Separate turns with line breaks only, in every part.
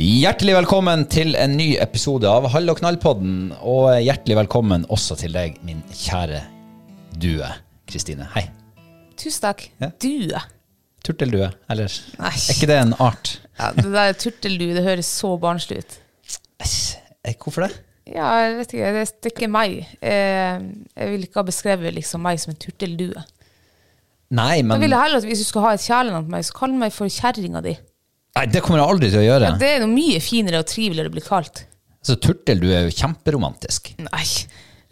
Hjertelig velkommen til en ny episode av Hall og knall-podden. Og hjertelig velkommen også til deg, min kjære due, Kristine. Hei.
Tusen takk.
Ja.
Due.
Turteldue, eller?
Nei.
Er ikke det en art?
Ja, det der turteldue, det høres så barnslig ut.
Æsj, eh, Hvorfor det?
Ja, jeg vet ikke, det det er ikke meg. Eh, jeg vil ikke ha beskrevet liksom meg som en turteldue.
Nei,
Da
men
vil jeg heller at hvis du skal ha et kjælenavn på meg, så kall meg for kjerringa di.
Nei, det kommer jeg aldri til å gjøre.
Det er noe mye finere og triveligere å bli kalt.
Så turteldue er jo kjemperomantisk.
Nei.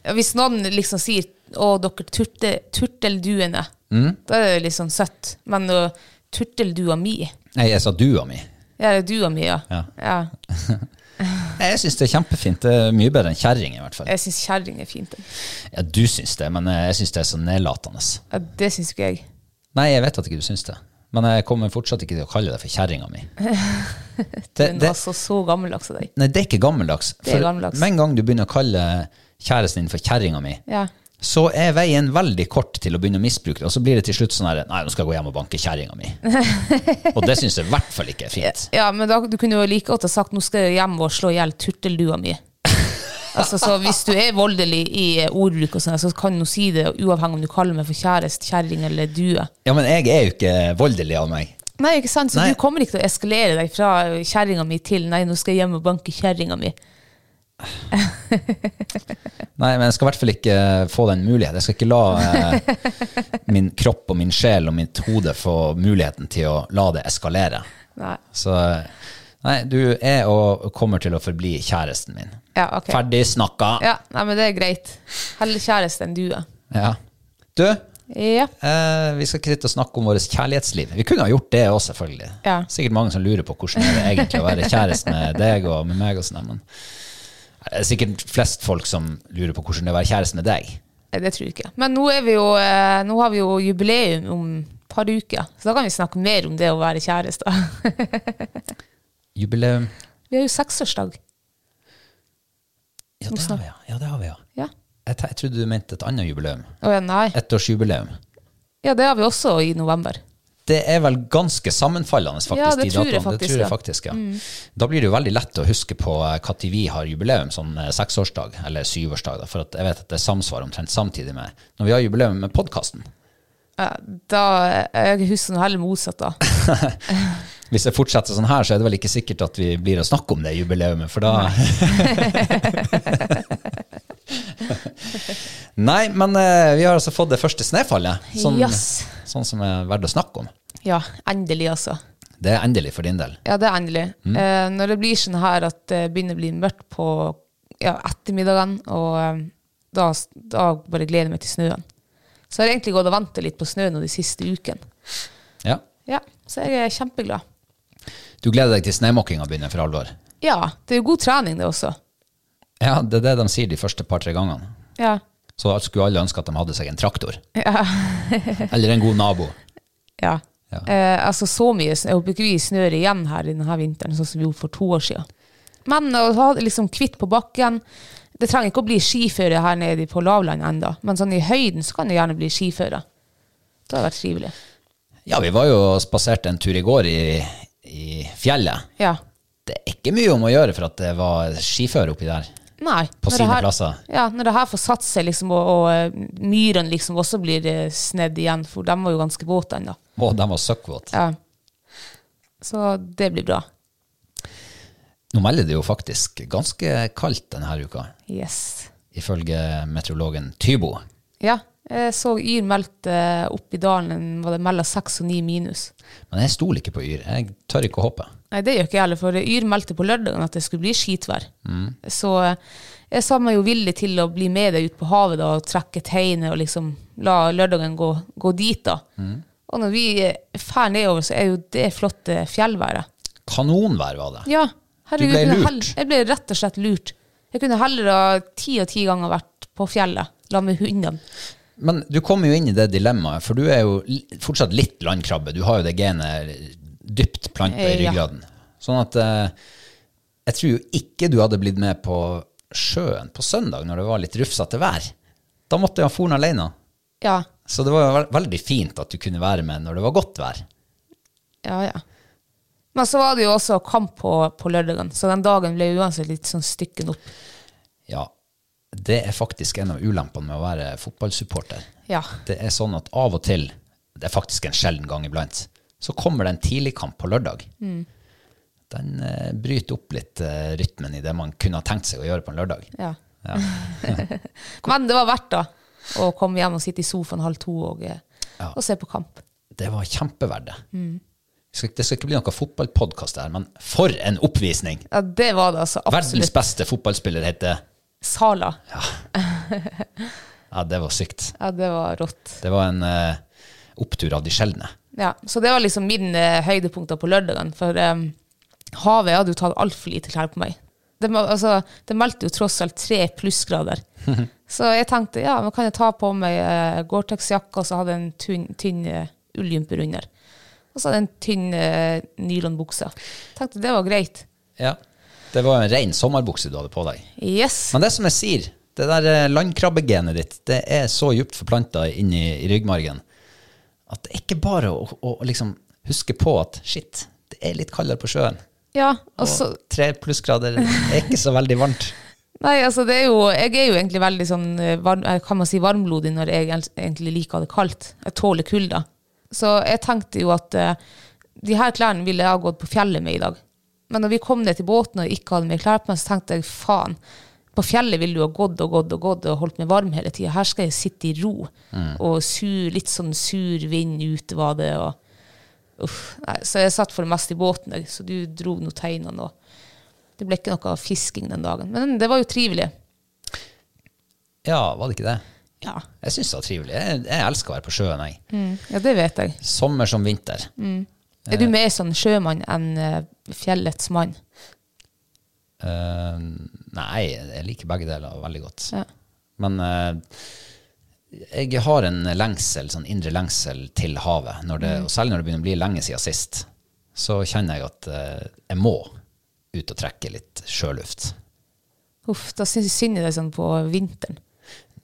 Ja, Hvis noen liksom sier 'Å, dere turte, turtelduene',
Mm.
da er det litt sånn søtt. Men uh, turteldua mi
Nei, jeg sa dua mi.
Ja, det er dua mi, ja.
Ja.
ja.
Nei, Jeg syns det er kjempefint. Det er mye bedre enn kjerring, i hvert fall.
Jeg syns kjerring er fint. jeg.
Ja, du syns det, men eh, jeg syns det er så nedlatende.
Ja, det syns ikke jeg.
Nei, jeg vet at ikke du syns det. Men jeg kommer fortsatt ikke til å kalle deg for kjerringa mi. Det,
Den
det,
var så, så gammeldags av deg.
nei, det er ikke gammeldags.
Det er
For
gammeldags.
Med en gang du begynner å kalle kjæresten din for kjerringa mi,
Ja.
så er veien veldig kort til å begynne å misbruke det. Og så blir det til slutt sånn her Nei, nå skal jeg gå hjem og banke kjerringa mi. og det syns jeg i hvert fall ikke er fint.
ja, men da, du kunne jo like godt ha sagt 'nå skal jeg hjem og slå i hjel turteldua mi'. altså, så Hvis du er voldelig i eh, ordbruk, og sånn, så kan du si det uavhengig om du kaller meg for kjæreste, kjerring eller due.
Ja, men jeg er jo ikke voldelig av meg.
Nei, ikke sant? Så
Nei.
du kommer ikke til å eskalere deg fra kjerringa mi til 'nei, nå skal jeg hjem og banke kjerringa mi'.
Nei, men jeg skal i hvert fall ikke eh, få den muligheten. Jeg skal ikke la eh, min kropp og min sjel og mitt hode få muligheten til å la det eskalere.
Nei.
Så eh, nei, du er og kommer til å forbli kjæresten min.
Ja, ok.
Ferdig snakka. Ja.
Ja, nei, men det er greit. Heller kjæreste enn due.
Du,
Ja.
eh, vi skal ikke sitte og snakke om vårt kjærlighetsliv. Vi kunne ha gjort det òg, selvfølgelig.
Ja.
Sikkert mange som lurer på hvordan er det egentlig å være kjæreste med deg og med meg. og sånn, men det er sikkert flest folk som lurer på hvordan det er å være kjæreste med deg.
Nei, Det tror jeg ikke. Men nå, er vi jo, eh, nå har vi jo jubileum om et par uker, så da kan vi snakke mer om det å være kjæreste.
Jubileum.
vi har jo seksårsdag.
Ja, det har vi, ja. ja, det har vi, ja.
Ja.
Jeg, te- jeg trodde du mente et annet jubileum.
Å ja, nei.
Ettårsjubileum.
Ja, det har vi også i november.
Det er vel ganske sammenfallende, faktisk.
Ja, det
de
tror jeg
datoene.
faktisk,
Det tror jeg
ja. Mm.
faktisk ja. Da blir det jo veldig lett å huske på når vi har jubileum, sånn eh, seksårsdag eller syvårsdag, da, for at jeg vet at det samsvarer omtrent samtidig med når vi har jubileum med podkasten.
Ja, Da, jeg husker noe heller motsatt da.
Hvis det fortsetter sånn her, så er det vel ikke sikkert at vi blir å snakke om det jubileumet, for da Nei, men eh, vi har altså fått det første snøfallet, sånn,
Yes.
sånn som er verdt å snakke om.
Ja, endelig, altså.
Det er endelig for din del.
Ja, det er endelig. Eh, når det blir sånn her at det begynner å bli mørkt på ja, ettermiddagen, og eh, da, da bare gleder jeg meg til snøen. Så jeg har egentlig gått og ventet litt på snø nå de siste ukene.
Ja.
Ja, så jeg er kjempeglad.
Du gleder deg til snømåkinga begynner for alvor?
Ja, det er jo god trening det også.
Ja, det er det de sier de første par-tre gangene.
Ja,
Så skulle alle ønske at de hadde seg en traktor. Eller en god nabo.
ja.
Ja.
Eh, altså så mye snø. Jeg håper ikke vi snør igjen her i denne vinteren, sånn som vi gjorde for to år siden. Men å ha det liksom kvitt på bakken, det trenger ikke å bli skiføre her nede på lavland enda, men sånn i høyden så kan det gjerne bli skiføre. Det har vært trivelig.
Ja, vi var jo og spaserte en tur i går i, i fjellet.
Ja.
Det er ikke mye om å gjøre for at det var skiføre oppi der.
Nei.
På
når det
sine
her-
plasser.
Ja, når det her får satt seg liksom, og, og eh, myrene liksom også blir eh, snedd igjen, for de var jo ganske våte ennå.
Og de var søkkvåte.
Ja. Så det blir bra.
Nå melder det jo faktisk ganske kaldt denne uka,
Yes.
ifølge meteorologen Tybo.
Ja, jeg så Yr meldte eh, opp i dalen var det mellom 6 og 9 minus.
Men jeg stoler ikke på Yr. Jeg tør ikke å håpe.
Nei, det gjør ikke jeg heller, for Yr meldte på lørdagen at det skulle bli skitvær.
Mm.
Så eh, jeg sa meg jo villig til å bli med deg ut på havet da, og trekke teinet og liksom la lørdagen gå, gå dit da.
Mm.
Og når vi eh, fær nedover, så er jo det flotte fjellværet.
Kanonvær var det.
Ja, herregud,
ble
jeg kunne
lurt.
hell- jeg ble rett og slett lurt. Jeg kunne heller ha ti og ti ganger vært på fjellet, la med hundene.
Men du kommer jo inn i det dilemmaet, for du er jo li- fortsatt litt landkrabbe. Du har jo det genet dypt planta i
Eh, ja.
ryggraden. Sånn at eh, jeg tror jo ikke du hadde blitt med på sjøen på søndag når det var litt rufsete vær. Da måtte jeg ha foren alene.
Ja,
Så det var jo vel- veldig fint at du kunne være med når det var godt vær.
ja, ja. Men så var det jo også kamp på, på lørdagen, så den dagen ble uansett litt sånn stykken opp.
Ja, det er faktisk en av ulempene med å være fotballsupporter.
Ja.
Det er sånn at av og til, det er faktisk en sjelden gang iblant, så kommer det en tidligkamp på lørdag. Den eh, bryter opp litt eh, rytmen i det man kunne ha tenkt seg å gjøre på en lørdag.
ja. Men det var verdt da, å komme hjem og sitte i sofaen halv to og, eh,
Ja.
og se på kamp.
Det var kjempeverd det. Det skal- Det skal ikke bli noen fotballpodkast her, men for en oppvisning!
Ja, det var det altså
Verdens
absolutt.
beste fotballspiller heter
Sala.
Ja, det var sykt.
Ja, det var rått.
Det var en eh, opptur av de sjeldne.
Ja, så det var liksom min eh, høydepunkt da på lørdagen, for eh, havet hadde jo tatt altfor lite klær på meg. Det, må- altså, det meldte jo tross alt tre plussgrader. Så jeg tenkte, ja, men kan jeg ta på meg eh, Gore-Tex-jakke, og så hadde jeg en tynn, tynn eh, ulljumper under. Og så hadde jeg en tynn eh, nylonbukse. Tenkte det var greit.
Ja. Det var en ren sommerbukse du hadde på deg.
Yes.
Men det som jeg sier, det der eh, landkrabbegenet ditt, det er så djupt forplanta inn i, i ryggmargen at det er ikke bare å, å, å liksom huske på at shit, det er litt kaldere på sjøen.
Ja, og
Og
så,
tre plussgrader er ikke så veldig varmt.
nei, altså det er jo, jeg er jo egentlig veldig sånn, eh, varm, eh, kan man si varmblodig når jeg el- egentlig liker det kaldt. Jeg tåler kulda. Så jeg tenkte jo at eh, de her klærne ville jeg ha gått på fjellet med i dag. Men når vi kom ned til båten og ikke hadde mer klær på meg, så tenkte jeg faen, på fjellet ville du ha gått og gått og gått og holdt meg varm hele tida. Her skal jeg sitte i ro og sur, litt sånn sur vind ute var det. og Uff, nei, så jeg satt for det meste i båten, jeg, så du dro noen teinene og Det ble ikke noe fisking den dagen, men det var jo trivelig.
Ja, var det ikke det?
Ja,
Jeg syns det var trivelig. Jeg, jeg elsker å være på sjøen, jeg.
ja det vet jeg.
Sommer som vinter.
Er du mer sånn sjømann enn eh, fjellets mann?
Eh, nei, jeg liker begge deler veldig godt.
Ja.
Men eh, jeg har en lengsel, sånn indre lengsel til havet. Når det,
Mm.
og særlig når det begynner å bli lenge siden sist, så kjenner jeg at eh, jeg må ut og trekke litt sjøluft.
Uff, da syns jeg synd i deg sånn på vinteren.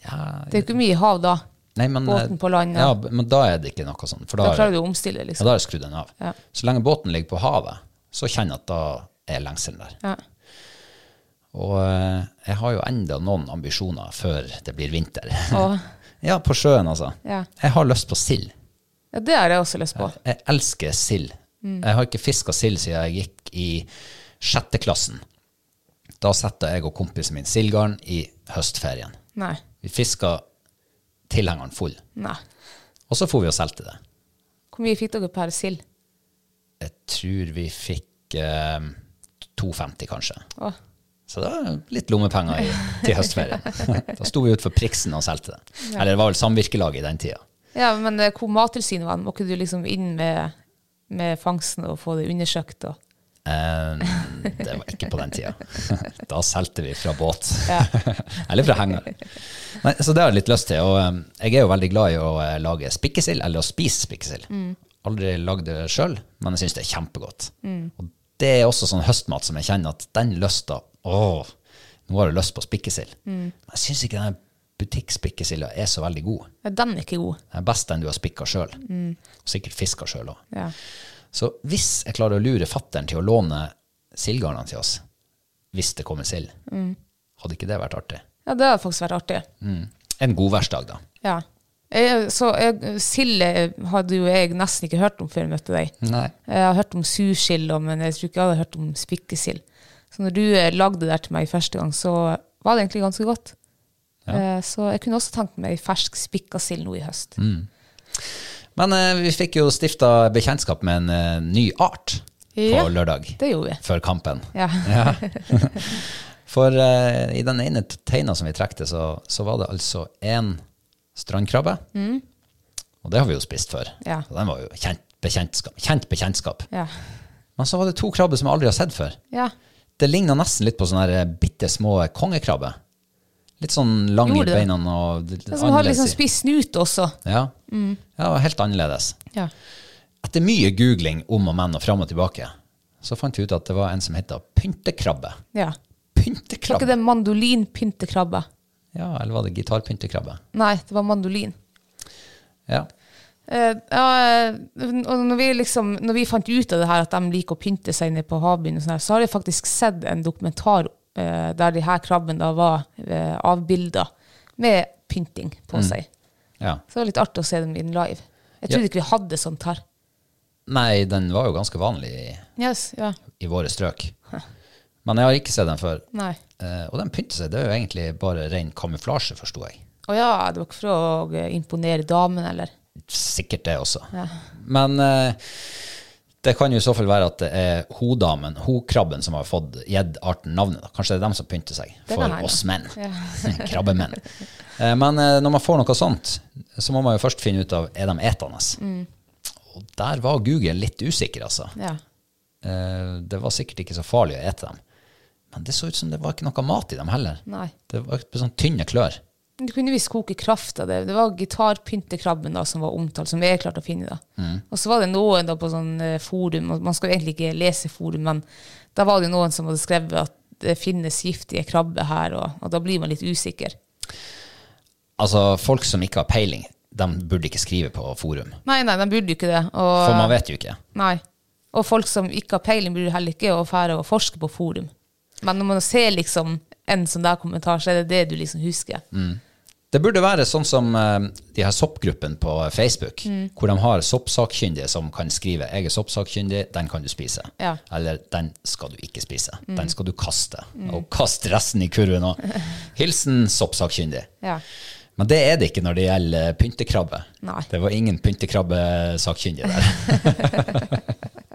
Ja,
Det er jo ikke mye hav da.
nei, men, eh,
båten på land,
Ja.
ja.
men da er det ikke noe sånn. For da,
Da
har-
klarer du å omstille,
ja,
liksom.
da har jeg skrudd den av.
Ja.
Så lenge båten ligger på havet, så kjenner jeg at da er lengselen der.
Ja.
Og eh, jeg har jo enda noen ambisjoner før det blir vinter.
Og,
ja, på sjøen, altså.
Ja.
Jeg har lyst på sild.
ja, det har jeg også lyst på.
Jeg elsker sild. Jeg har ikke fiska sild siden jeg gikk i sjette klassen. Da satte jeg og kompisen min sildgarn i høstferien.
Nei.
Vi fiska tilhengeren full,
Nei.
og så for vi og solgte det.
Hvor mye fikk dere per sild?
Jeg tror vi fikk eh, 2,50 kanskje.
Åh.
Så det var litt lommepenger i, til høstferien. da sto vi utenfor Priksen og solgte det. Eller det var vel samvirkelaget i den tida.
Ja, men eh, hvor Mattilsynet var, må ikke du liksom inn med, med fangsten og få det undersøkt? Og.
Eh, det var ikke på den tida. da solgte vi fra båt. eller fra henger. Nei, så det har jeg litt lyst til. Og eh, jeg er jo veldig glad i å eh, lage spikkesild, eller å spise spikkesild. Aldri lagd det sjøl, men jeg syns det er kjempegodt. Og det er også sånn høstmat som jeg kjenner at den lysta Åh, nå har jeg lyst på spikkesild. Men jeg syns ikke den butikkspikkesilda er så veldig god.
Ja, Den er ikke god.
Den er best den du har spikka sjøl. Sikkert fiska sjøl òg.
Ja.
Så hvis jeg klarer å lure fatteren til å låne sildgarnene til oss, hvis det kommer sild, hadde ikke det vært artig?
ja, det hadde faktisk vært artig.
Mm. En godværsdag, da.
Ja. Jeg, så jeg, Silde hadde jo jeg nesten ikke hørt om før jeg møtte deg.
Nei.
Jeg har hørt om sursild, og- men jeg tror ikke jeg hadde hørt om spikkesild. Så når du eh, lagde det der til meg første gang, så var det egentlig ganske godt. Eh, Så jeg kunne også tenkt meg fersk spikka sild nå i høst.
Men eh, vi fikk jo stifta bekjentskap med en eh, ny art på
Ja.
lørdag
Det gjorde vi.
før kampen.
Ja.
For eh, i den ene teina som vi trekte, så, så var det altså én strandkrabbe. Og det har vi jo spist før.
Mm. Ja.
Så den var jo kjent bekjentskap. Kjent bekjentskap.
Ja.
Men så var det to krabber som jeg aldri har sett før.
ja.
Det ligna nesten litt på sånne her eh, bitte små kongekrabber. Litt sånn lang i
Gjorde det?
beina og litt
Den som har
annerledes.
liksom Mm.
i-
spist snut også.
Ja. ja, det var helt annerledes.
Ja.
Etter mye googling om og men og fram og tilbake, så fant vi ut at det var en som heta pyntekrabbe.
ja. Var ikke
Pyntekrabbe?
det mandolinpyntekrabbe?
Ja, eller var det gitarpyntekrabbe?
Nei, det var mandolin.
Ja.
Eh, ja, eh, og når vi, liksom, når vi fant ut av det her at de liker å pynte seg nede på havbunnen, og sånn her, så har jeg faktisk sett en dokumentar eh, der de her krabben da var uh, avbilda med pynting på seg.
ja.
Så det var litt artig å se dem in live. Jeg
Ja.
trodde ikke vi hadde sånt her.
Nei, den var jo ganske vanlig i,
Yes, ja.
i våre strøk. Men jeg har ikke sett den før.
Nei.
Eh, og den pynter seg, det er jo egentlig bare ren kamuflasje, forsto jeg.
Å ja, det var ikke for å eh, imponere damen, eller?
Sikkert det også. Men eh, det kan jo i så fall være at det er hodamen, hokrabben, som har fått gitt arten navnet. Da. Kanskje det er dem som pynter seg
kan
for
hende.
oss menn. Krabbemenn. Eh, men eh, når man får noe sånt, så må man jo først finne ut av er de etende. Og der var Google litt usikker, altså.
Ja.
Eh, det var sikkert ikke så farlig å ete dem. Men det så ut som det var ikke noe mat i dem heller.
Nei.
Det var sånn tynne klør.
Du kunne visst koke kraft av det. Det var gitarpyntekrabben da, som var omtalt, som jeg klarte å finne. da. Og så var det noen da på sånn eh, forum, og man skal jo egentlig ikke lese forum, men da var det noen som hadde skrevet at det finnes giftige krabber her, og, og da blir man litt usikker.
Altså, folk som ikke har peiling, de burde ikke skrive på forum.
Nei, nei, de burde jo ikke det. Og,
For man vet jo ikke.
Nei. Og folk som ikke har peiling, burde heller ikke å fære og forske på forum. Men når man ser liksom en sånn der kommentar, så er det det du liksom husker.
Det burde være sånn som eh, de her soppgruppene på Facebook,
Mm.
hvor de har soppsakkyndige som kan skrive 'jeg er soppsakkyndig, den kan du spise'.
Ja. Mm.
Eller 'den skal du ikke spise, den skal du kaste'. Og kast resten i kurven òg. Hilsen soppsakkyndig.
Ja.
Men det er det ikke når det gjelder pyntekrabbe.
Nei.
Det var ingen pyntekrabbesakkyndige der.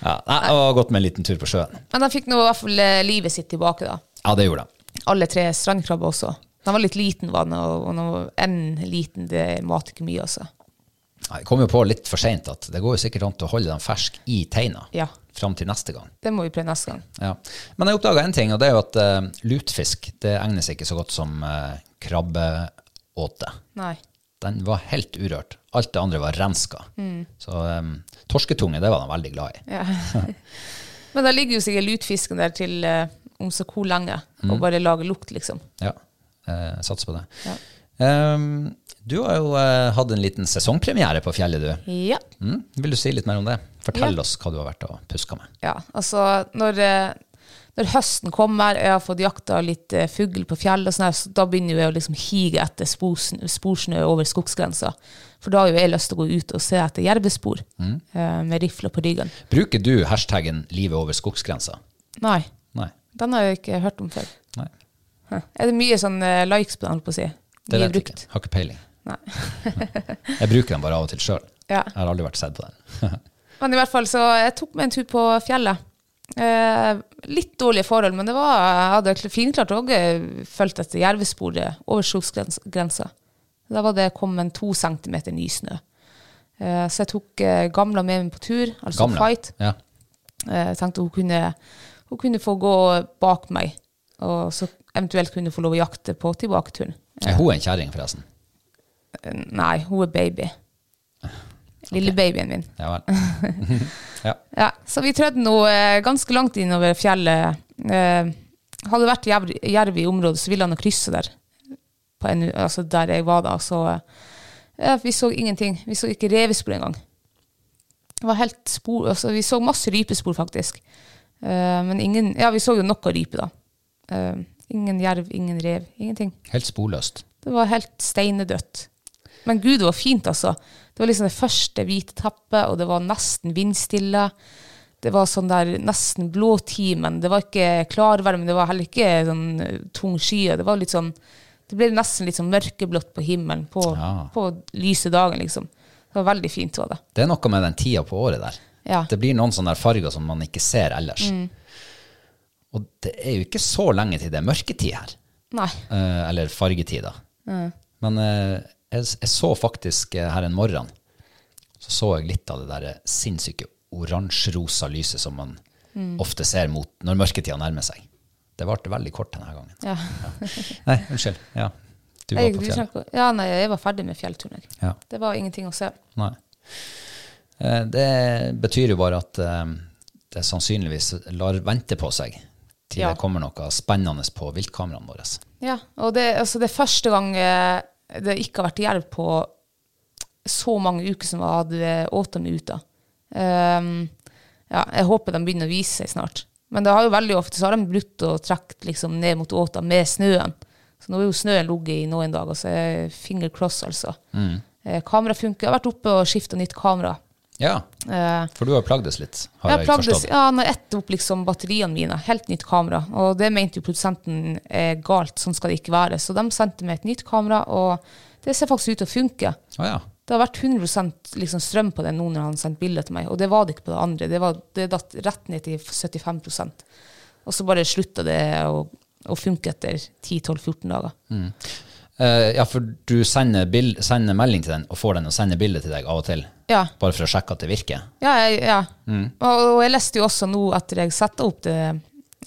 ja, nei, det var godt med en liten tur på sjøen.
Men de fikk nå i hvert fall eh, livet sitt tilbake, da.
Ja, det gjorde de.
alle tre strandkrabber også. Den var litt liten, var den, og, og noe, en liten det mater ikke mye. Altså.
Nei, Jeg kom jo på litt for seint at det går jo sikkert an til å holde dem ferske i teina
Ja.
fram til neste gang.
Det må vi prøve neste gang.
Ja. Men jeg oppdaga én ting, og det er jo at eh, lutfisk det egner seg ikke så godt som uh, krabbeåte.
Nei.
Den var helt urørt. Alt det andre var renska. Så eh, torsketunge, det var de veldig glad i.
Ja. Men da ligger jo sikkert lutfisken der til eh, om så hvor lenge, og bare lager lukt, liksom.
Ja, eh, sats på det. Ehm, du har jo eh, hatt en liten sesongpremiere på fjellet, du.
Ja.
Mm. Vil du si litt mer om det? Fortell
Ja.
oss hva du har vært og puska med.
ja. Altså, når, eh, når høsten kommer, jeg har fått jakta litt eh, fugl på fjell, og sånn her, så da begynner jeg å liksom hige etter sporsn- sporsnø over skogsgrensa. For da har jo jeg lyst til å gå ut og se etter jervespor eh, med rifla på ryggen.
Bruker du hashtaggen 'livet over skogsgrensa'?
Nei.
Nei.
Den har jeg ikke hørt om før.
Nei.
Er det mye sånn eh, likes på den, holdt på å si?
Det
Mye
vet jeg ikke. Har ikke peiling.
Nei.
Jeg bruker den bare av og til sjøl.
Ja.
Jeg har aldri vært sett på den.
Men i hvert fall, så jeg tok meg en tur på fjellet. Eh, litt dårlige forhold, men det var, jeg hadde kl- finklart og eh, fulgt etter jervesporet over skogsgrensa. Da var det kommet to centimeter ny snø. Eh, så jeg tok eh, gamla med meg på tur, altså
Gamle.
fight.
Ja.
Eh, jeg tenkte hun kunne, hun kunne få gå bak meg, og så eventuelt kunne få lov å jakte på tilbaketuren.
Er hun en kjerring, forresten?
Eh, Nei, hun er baby. Lille babyen min.
Ja vel. ja.
Ja, så vi trødde nå eh, ganske langt innover fjellet. Eh, hadde det vært jerv, jerv i området, så ville han ha krysset der. På en, altså der jeg var da, så eh, vi så ingenting. Vi så ikke revespor engang. Det var helt spor, altså vi så masse rypespor faktisk. Eh, men ingen, ja, vi så jo nok av rype da. Eh, ingen jerv, ingen rev, ingenting.
Helt sporløst.
Det var helt steinedødt. Men gud, det var fint, altså. Det var liksom det første hvite teppet, og det var nesten vindstille. Det var sånn der nesten blåtimen. Det var ikke klarvær, men det var heller ikke sånn eh, tung skyer. Det var litt sånn Det ble nesten litt sånn mørkeblått på himmelen på,
Ja.
på lyse dagen, liksom. Det var veldig fint, var det.
Det er noe med den tida på året der.
Ja. Mm.
Det blir noen sånne farger som man ikke ser ellers. Og det er jo ikke så lenge til det er mørketid her.
Nei.
Eh, eller fargetid, da. Men eh, jeg, jeg så faktisk eh, her en morgen så så jeg litt av det der eh, sinnssyke oransje-rosa lyset som man
Mm.
ofte ser mot når mørketida nærmer seg. Det varte veldig kort denne gangen.
Ja.
Nei, unnskyld. Ja. Du var
Jeg,
på
du
fjellet.
snakker- ja, nei, jeg var ferdig med fjellturen. jeg.
Ja.
Det var ingenting å se.
Nei. Eh, Det betyr jo bare at eh, det sannsynligvis lar vente på seg til
Ja.
det kommer noe spennende på viltkameraene våre.
Ja, og det, altså det er første gang eh, det ikke har vært jerv på så mange uker som jeg hadde åta meg ut av. Ehm, ja, jeg håper de begynner å vise seg snart. Men det har jo veldig ofte så har de brutt og trukket liksom ned mot åta med snøen. Så nå er jo snøen ligget i noen dager, så jeg- finger cross, altså. Eh, kamera funker. Jeg har vært oppe og skifta nytt kamera.
Ja,
Eh,
for du har plagdes litt, har
jeg
jeg,
plagde,
forstått.
ja, når jeg etter opp liksom batteriene mine, helt nytt kamera, og det mente jo produsenten er galt, sånn skal det ikke være, så de sendte meg et nytt kamera, og det ser faktisk ut til å funke.
Å ja.
Det har vært 100 liksom strøm på det nå når han sendte bilder til meg, og det var det ikke på det andre, det, var, det datt rett ned til 75 og så bare slutta det å, å funke etter 10-12-14 dager.
Eh, ja, for du sender, bil- sender melding til den og får den å sende bilde til deg av og til.
Ja.
Bare for å sjekke at det virker.
Ja, jeg, ja. Og, og jeg leste jo også nå etter jeg satte opp det,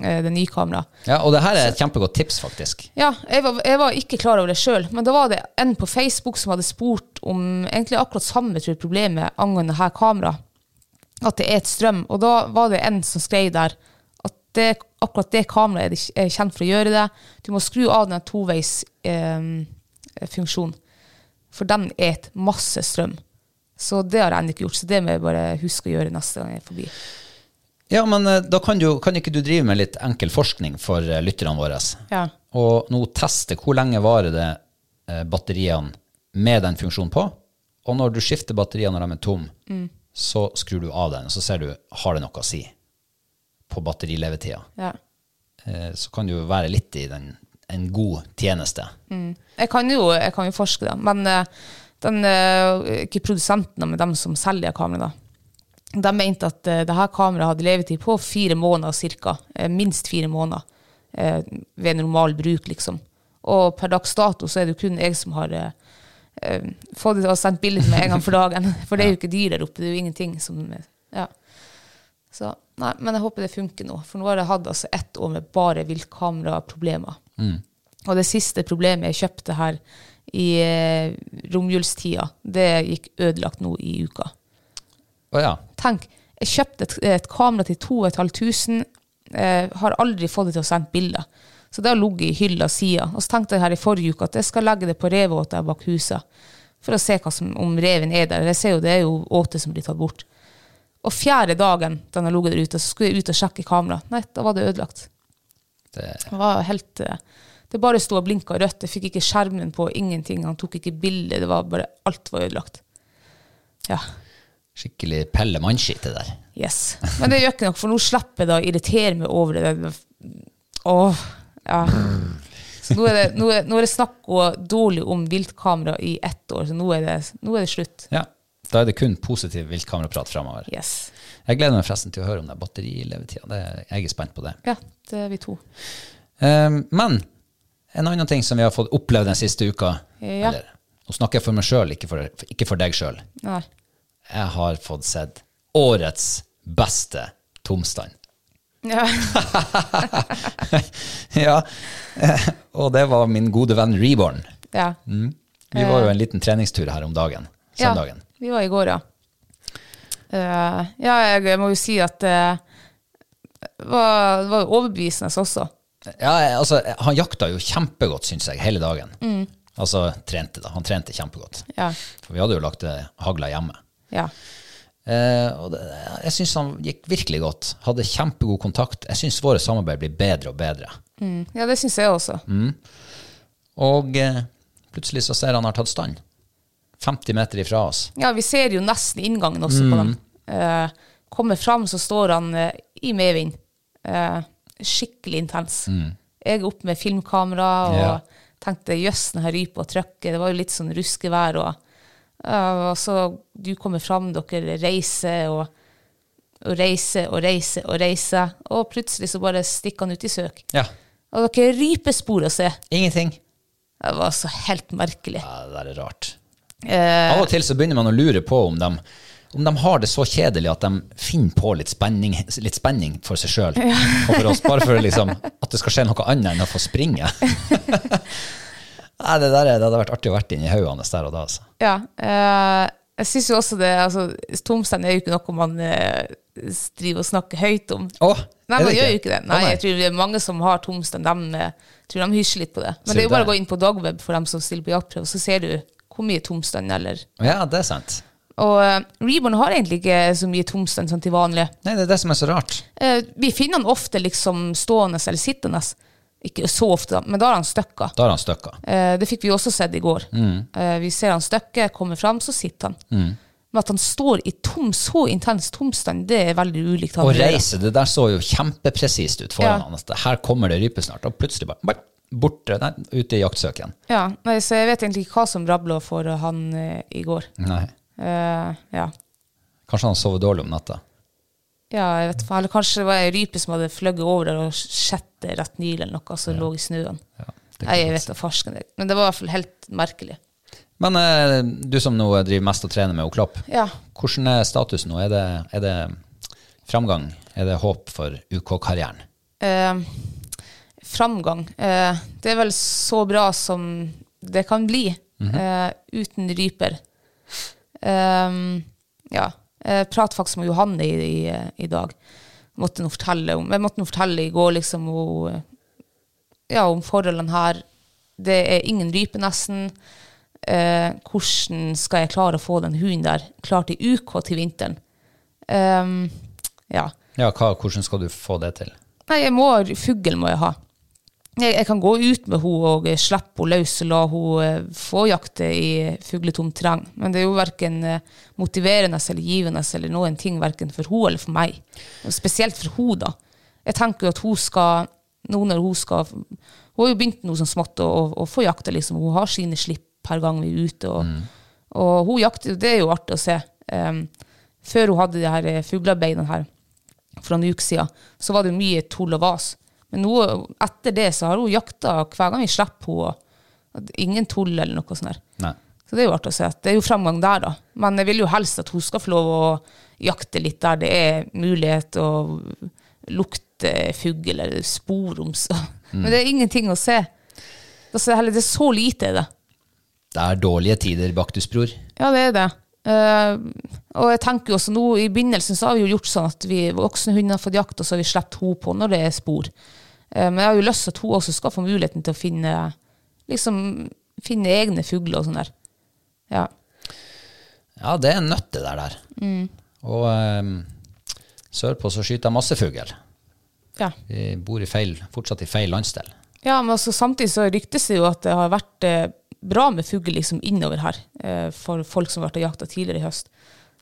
eh, det nye kameraet,
Ja, Og det her er et kjempegodt tips, faktisk.
Ja, jeg var, jeg var ikke klar over det sjøl, men da var det en på Facebook som hadde spurt om egentlig akkurat samme tror jeg, problemet angående her kamera. At det er et strøm. Og da var det en som skrev der at det, akkurat det kameraet er det ikke- er kjent for å gjøre det. Du må skru av den toveisfunksjonen, eh, funksjonen, for den et masse strøm. Så det har jeg ennå ikke gjort, så det må jeg bare huske å gjøre neste gang jeg er forbi.
Ja, men eh, da kan, du, kan ikke du drive med litt enkel forskning for eh, lytterne våre?
Ja.
Og nå teste hvor lenge varer det eh, batteriene med den funksjonen på, og når du skifter batteriene når de er tom,
Mm.
så skrur du av den, og så ser du har det noe å si på batterilevetida.
Ja.
Eh, så kan du jo være litt i den, en god tjeneste.
Mm. Jeg kan jo, jeg kan jo forske, da. Men eh, den, eh, ikke produsentene, men dem som selger kamera, da. De mente at eh, det her kameraet hadde levetid på fire måneder cirka. Eh, minst fire måneder eh, ved normal bruk, liksom. Og per dags dato så er det jo kun jeg som har eh, eh, fått det og sendt bilde til meg en gang for dagen. For det er jo ikke dyr der oppe, det er jo ingenting som eh, Ja. Så nei, men jeg håper det funker nå. For nå har jeg hatt altså ett år med bare viltkameraproblemer. Og det siste problemet jeg kjøpte her i eh, romjulstida, det gikk ødelagt nå i uka.
Å ja.
Tenk, jeg kjøpte et, et kamera til 2500, eh, har aldri fått det til å sende bilder. Så det har ligget i hylla siden. Og så tenkte jeg her i forrige uke at jeg skal legge det på revåta bak huset, for å se hva som, om reven er der. Jeg ser jo det er jo åte som blir tatt bort. Og fjerde dagen den har ligget der ute, så skulle jeg ut og sjekke kameraet. Nei, da var det ødelagt.
Det,
Det var helt eh, Det bare sto og blinka rødt. Jeg fikk ikke skjermen på, ingenting. Han tok ikke bilde. Det var bare Alt var ødelagt. Ja.
skikkelig pelle mannskitt det der.
Yes. Men det gjør ikke noe, for nå slipper jeg da å irritere meg over det. Åh, ja. Så nå er det, nå er, nå er det snakk og dårlig om viltkamera i ett år, så nå er det, nå er det slutt.
Ja. Da er det kun positiv viltkameraprat framover.
Yes.
Jeg gleder meg forresten til å høre om den batterilevetida. Det- Jeg er spent på det.
Ja, det er vi to.
Ehm, men en annen ting som vi har fått opplevd den siste uka
Ja.
eller, Nå snakker jeg for meg sjøl, ikke, for- ikke for deg sjøl.
Nei.
Jeg har fått sett årets beste tomstand.
Ja.
ja, eh, og det var min gode venn Reborn.
ja.
Vi var jo en liten treningstur her om dagen. Søndagen.
Eh. Ja, vi var i går, ja. Eh, ja, jeg må jo si at eh, det var, det var jo overbevisende også.
Ja, jeg- altså, han jakta jo kjempegodt, syns jeg, hele dagen. Altså trente, da. Han trente kjempegodt.
Ja.
For vi hadde jo lagt det hagla hjemme.
ja.
Eh, og det, jeg syns han gikk virkelig godt. Hadde kjempegod kontakt. Jeg syns våre samarbeid blir bedre og bedre.
Mm. Ja, det syns jeg også.
Og eh, plutselig så ser han har tatt stand. 50 meter ifra oss.
Ja, vi ser jo nesten inngangen også på dem. Eh, kommer fram, så står han eh, i medvind. Eh, skikkelig intens. Jeg er oppe med filmkamera og
Ja.
tenkte jøss, den her rypa og trøkket. Det var jo litt sånn ruskevær. Og, eh, og så du kommer fram, dere reiser og, og reiser og reiser og reiser. Og plutselig så bare stikker han ut i søk.
Ja.
Og dere rypespor å se.
Ingenting.
Det var så helt merkelig.
Ja, det der er rart.
Eh,
Av og til så begynner man å lure på om de, om de har det så kjedelig at de finner på litt spenning, litt spenning for seg sjøl og for oss, bare for liksom, at det skal skje noe annet enn å få springe. Nei, det, der, er- det hadde vært artig å vært inni hodet hans der og da. Altså.
Ja. eh, jeg syns jo også det altså, Tomstein er jo ikke noe man eh, s- driver og snakker høyt om.
Å,
Nei,
er
man
det
gjør jo
ikke?
ikke det.
Å,
Nei,
nei.
jeg tror det er mange som har tomstein, de eh, tror de hysjer litt på det.
Ser
Men det er
du
jo bare å
det?
gå inn på dagweb for dem som stiller på jaktprøve, så ser du hvor mye tomstein eller
Ja, det er sant.
Og eh, Reborn har egentlig ikke så mye tomstein sånn til vanlig.
Nei, det er det som er så rart.
Eh, vi finner han ofte liksom stående eller sittende. Ikke så ofte, da, men da har han støkka.
Da har han støkka.
Eh, det fikk vi også sett i går. Eh, vi ser han støkke, kommer fram, så sitter han. Men at han står i tom, så intens tomstand, det er veldig ulikt. han
Å
gjør.
reise, det der så jo kjempepresist ut foran
Ja.
han. at Her kommer det rype snart, og plutselig bare, bare borte, nei, ute i jaktsøken.
Ja, nei, så jeg vet egentlig ikke hva som rabla for han eh, i går.
Nei.
Eh, ja.
Kanskje han sover dårlig om natta.
ja, jeg vet faen. Eller kanskje det var ei rype som hadde fløyet over der og sett det rett nylig, eller noe, som lå i snøen.
det
nei,
kan
jeg vet da farsken. det. Men det var i hvert fall helt merkelig.
Men eh, du som nå driver mest og trener med Oklopp,
Ja.
hvordan er status nå? Er det, er det framgang? Er det håp for UK-karrieren?
eh, framgang. Eh, det er vel så bra som det kan bli eh, uten ryper. Ehm, ja. Jeg pratet faktisk med Johanne i, i, i dag. Måtte hun fortelle om, jeg måtte hun fortelle i går liksom, hun, ja, om forholdene her. Det er ingen rype, nesten. Eh, hvordan skal jeg klare å få den hunden der klar til UK til vinteren? Ehm, ja.
Ja, hva, hvordan skal du få det til?
Nei, jeg må, fugl må jeg ha. Jeg, jeg kan gå ut med henne og eh, slippe henne løs og la henne eh, få jakte i fugletomt terreng. Men det er jo verken eh, motiverende eller givende eller noen ting verken for henne eller for meg. Og spesielt for henne, da. Jeg tenker jo at hun skal nå når Hun skal Hun har jo begynt noe sånn smått å, å, å få jakte, liksom. Hun har sine slipp per gang vi er ute. Og, og hun jakter, det er jo artig å se. Em, før hun hadde de her eh, fuglearbeidene her, for noen uker siden, så var det jo mye tull og vas. Men nå, etter det så har hun jakta hver gang vi slipper henne. og Ingen tull eller noe sånt. der.
Nei.
Så det er jo artig å se. at Det er jo framgang der, da. Men jeg vil jo helst at hun skal få lov å jakte litt der det er mulighet å lukte fugl eller sporums. Men det er ingenting å se. Altså, heller, det er så lite i det.
Det er dårlige tider, Baktusbror.
Ja, det er det. Eh, og jeg tenker jo også nå, I begynnelsen så har vi jo gjort sånn at vi voksne hunder har fått jakt, og så har vi sluppet henne på når det er spor. Eh, men jeg har jo lyst til at hun også skal få muligheten til å finne liksom, finne egne fugler og sånn der. Ja.
Ja, det er en nøtte der, der. Og eh, sørpå så skyter jeg masse fugl.
Ja.
Vi bor i feil, fortsatt i feil landsdel.
ja, men altså, samtidig så ryktes det jo at det har vært eh, bra med fugl liksom, innover her eh, for folk som har vært og jakta tidligere i høst.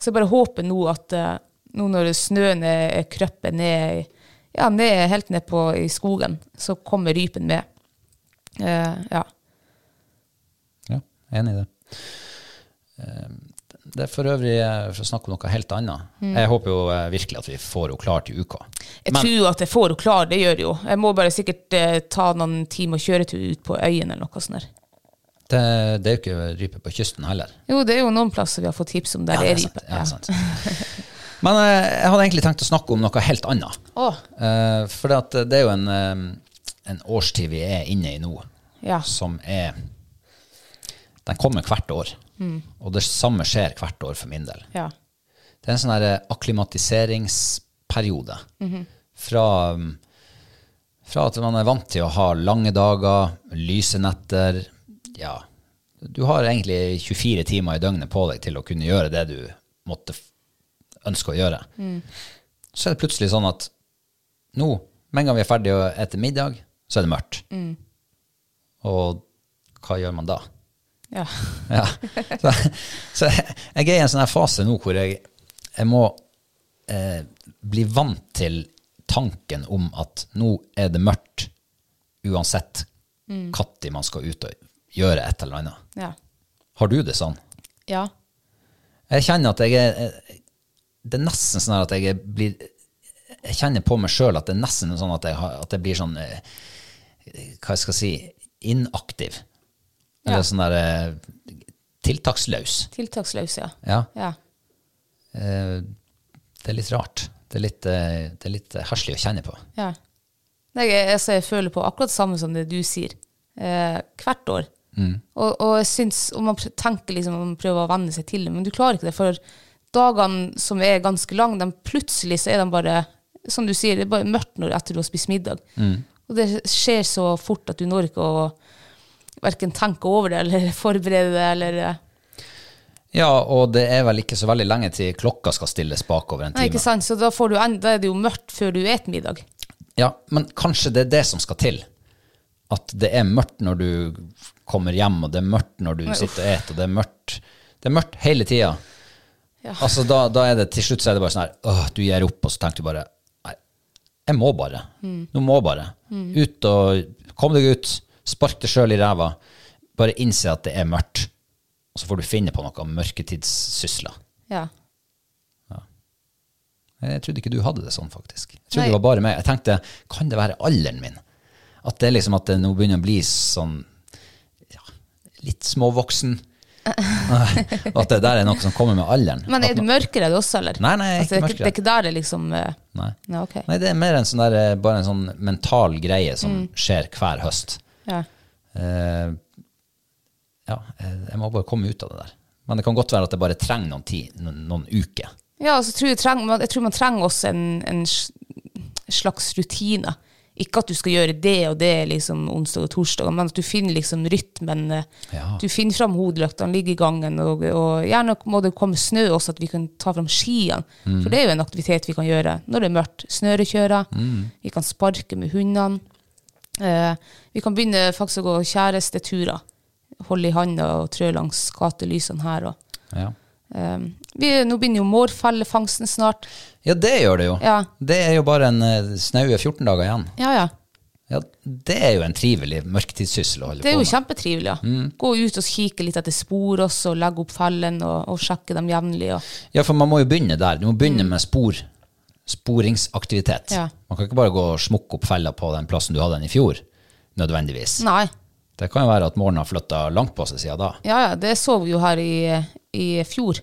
Så jeg bare håper nå at eh, nå når snøen er er krøppet ned, ja, ned, helt ned på, i skogen, så kommer rypen med. Eh, ja.
Ja, enig i det. Eh, Det er for øvrig eh, for å snakke om noe helt annet. Jeg håper jo eh, virkelig at vi får henne klar til uka.
Jeg tror at jeg får henne klar, det gjør jeg jo. Jeg må bare sikkert eh, ta noen timer kjøretur ut på øyen eller noe sånt. der.
Det, det er jo ikke rype på kysten heller.
Jo, det er jo noen plasser vi har fått tips om der det er
sant,
rype.
ja, sant. Men eh, jeg hadde egentlig tenkt å snakke om noe helt annet.
Åh.
Eh, for det, at det er jo en, eh, en årstid vi er inne i nå,
Ja.
som er Den kommer hvert år. Og det samme skjer hvert år for min del.
Ja.
Det er en sånn her eh, akklimatiseringsperiode. fra, um, fra at man er vant til å ha lange dager, lyse netter ja, Du har egentlig 24 timer i døgnet på deg til å kunne gjøre det du måtte f- ønske å gjøre. Så er det plutselig sånn at nå, med en gang vi er ferdige å ete middag, så er det mørkt. Og hva gjør man da?
Ja.
Ja. Så, så jeg er i en sånn her fase nå hvor jeg, jeg må eh, bli vant til tanken om at nå er det mørkt uansett når man skal ut og gjøre et eller annet.
Ja.
Har du det sånn?
ja.
Jeg kjenner at jeg er eh, Det er nesten sånn her at jeg er- blir Jeg kjenner på meg sjøl at det er nesten sånn at jeg, har, at jeg blir sånn eh, Hva jeg skal si Inaktiv. Eller
Ja.
sånn der eh, Tiltaksløs.
Tiltaksløs, ja.
Ja.
ja.
Eh, det er litt rart. Det er litt, eh, det er litt eh, herselig å kjenne på.
Ja. Nei, jeg, altså, jeg føler på akkurat samme som det du sier. Eh, hvert år. Og, og jeg syns, og man pr- tenker liksom man prøver å venne seg til det, men du klarer ikke det. For dagene som er ganske lange, de plutselig så er de bare Som du sier, det er bare mørkt når etter du har spist middag. Og det skjer så fort at du når ikke å verken tenke over det eller forberede det eller eh,
Ja, og det er vel ikke så veldig lenge til klokka skal stilles bakover en
Nei,
time.
ikke sant? Så da, får du en, da er det jo mørkt før du spiser middag.
Ja, men kanskje det er det som skal til. At det er mørkt når du kommer hjem, og det er mørkt når du sitter og eter, og det er mørkt. Det er mørkt hele tida. Altså, da, da er det til slutt så er det bare sånn her Åh, du gir opp, og så tenker du bare Nei, jeg må bare. Nå må bare. Ut og Kom deg ut. Spark deg sjøl i ræva. Bare innse at det er mørkt. Og så får du finne på noe mørketidssysler.
Ja.
Jeg trodde ikke du hadde det sånn, faktisk. Jeg trodde
Nei.
det var bare meg. Jeg tenkte, kan det være alderen min? At det er liksom at det nå begynner å bli sånn ja, litt småvoksen. Og at det der er noe som kommer med alderen.
Men
At
er du
man-
mørkere det også, eller?
Nei, nei, jeg er
altså, det,
ikke
er ikke, det er ikke der det liksom eh,
Nei.
Nei, ok.
Nei, det er mer en sånn der, eh, bare en sånn mental greie
Mm.
som skjer hver høst.
Ja.
Eh, ja, eh, jeg må bare komme ut av det der. Men det kan godt være at jeg bare trenger noen tid, noen, noen uker.
ja, og så tror jeg, treng, man- jeg tror man trenger også en, en s- slags rutine. Ikke at du skal gjøre det og det liksom onsdag og torsdag, men at du finner liksom rytmen. eh,
Ja.
Du finner fram hodeløktene, ligger i gangen, og, og gjerne må det komme snø også, at vi kan ta fram skiene. For det er jo en aktivitet vi kan gjøre når det er mørkt. Snørekjører, vi kan sparke med hundene. Eh, vi kan begynne faktisk å gå kjæresteturer. Holde i handa og trø langs gatelysene her. og
Ja.
Um, vi, nå begynner jo mårfellefangsten snart.
ja, det gjør det jo.
Ja.
Det er jo bare en eh, snaue 14 dager igjen.
Ja, ja.
Ja, det er jo en trivelig mørketidssyssel å holde
Det er
på
jo
med.
kjempetrivelig. Ja. Gå ut og kikke litt etter spor også, og legge opp fellen og, og sjekke dem jevnlig. Og,
Ja, for man må jo begynne der. Du må begynne med spor, sporingsaktivitet.
Mm. Ja.
Man kan ikke bare gå og smukke opp fella på den plassen du hadde den i fjor, nødvendigvis.
nei.
Det kan jo være at målen har flytta langt på seg siden da.
Ja, ja, det så vi jo her i, i fjor.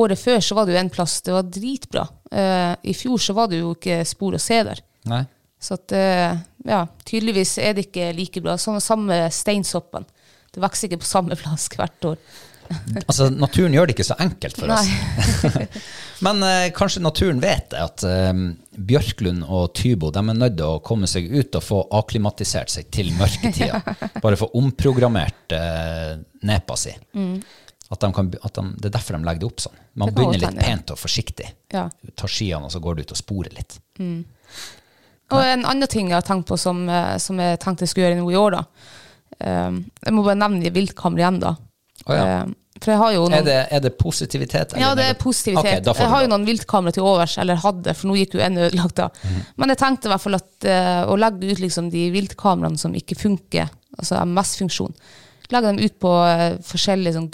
Året før så var det jo en plass, det var dritbra. Eh, I fjor så var det jo ikke spor å se der.
Nei.
Så at, eh, ja, tydeligvis er det ikke like bra. Sånn samme steinsoppen. Det vokser ikke på samme plass hvert år.
Altså, naturen gjør det ikke så enkelt for oss.
Nei.
Men eh, kanskje naturen vet det, at eh, Bjørklund og Tybo de er nødt til å komme seg ut og få akklimatisert seg til mørketida. Bare få omprogrammert eh, nepa si. At de kan, at de, det er derfor de legger det opp sånn. Man
Mm. Det kan
begynner
godt
litt
hende, ja.
pent og forsiktig.
Ja.
Du tar skiene, og så går du ut og sporer litt.
Og en annen ting jeg har tenkt på som, eh, som jeg tenkte jeg skulle gjøre nå i år, da. Um, jeg må bare nevne viltkammer igjen, da.
Å ja.
Um, for jeg har jo noen
Er det, er det positivitet? eller
ja, det er
negativ-
positivitet.
Ok, da får
jeg
du
har jo
lov.
noen viltkamera til overs, eller hadde, for nå gikk jo en ødelagt da.
Mhm.
Men jeg tenkte i hvert fall at eh, å legge ut liksom de viltkameraene som ikke funker, altså MS-funksjon, legger dem ut på eh, forskjellige sånn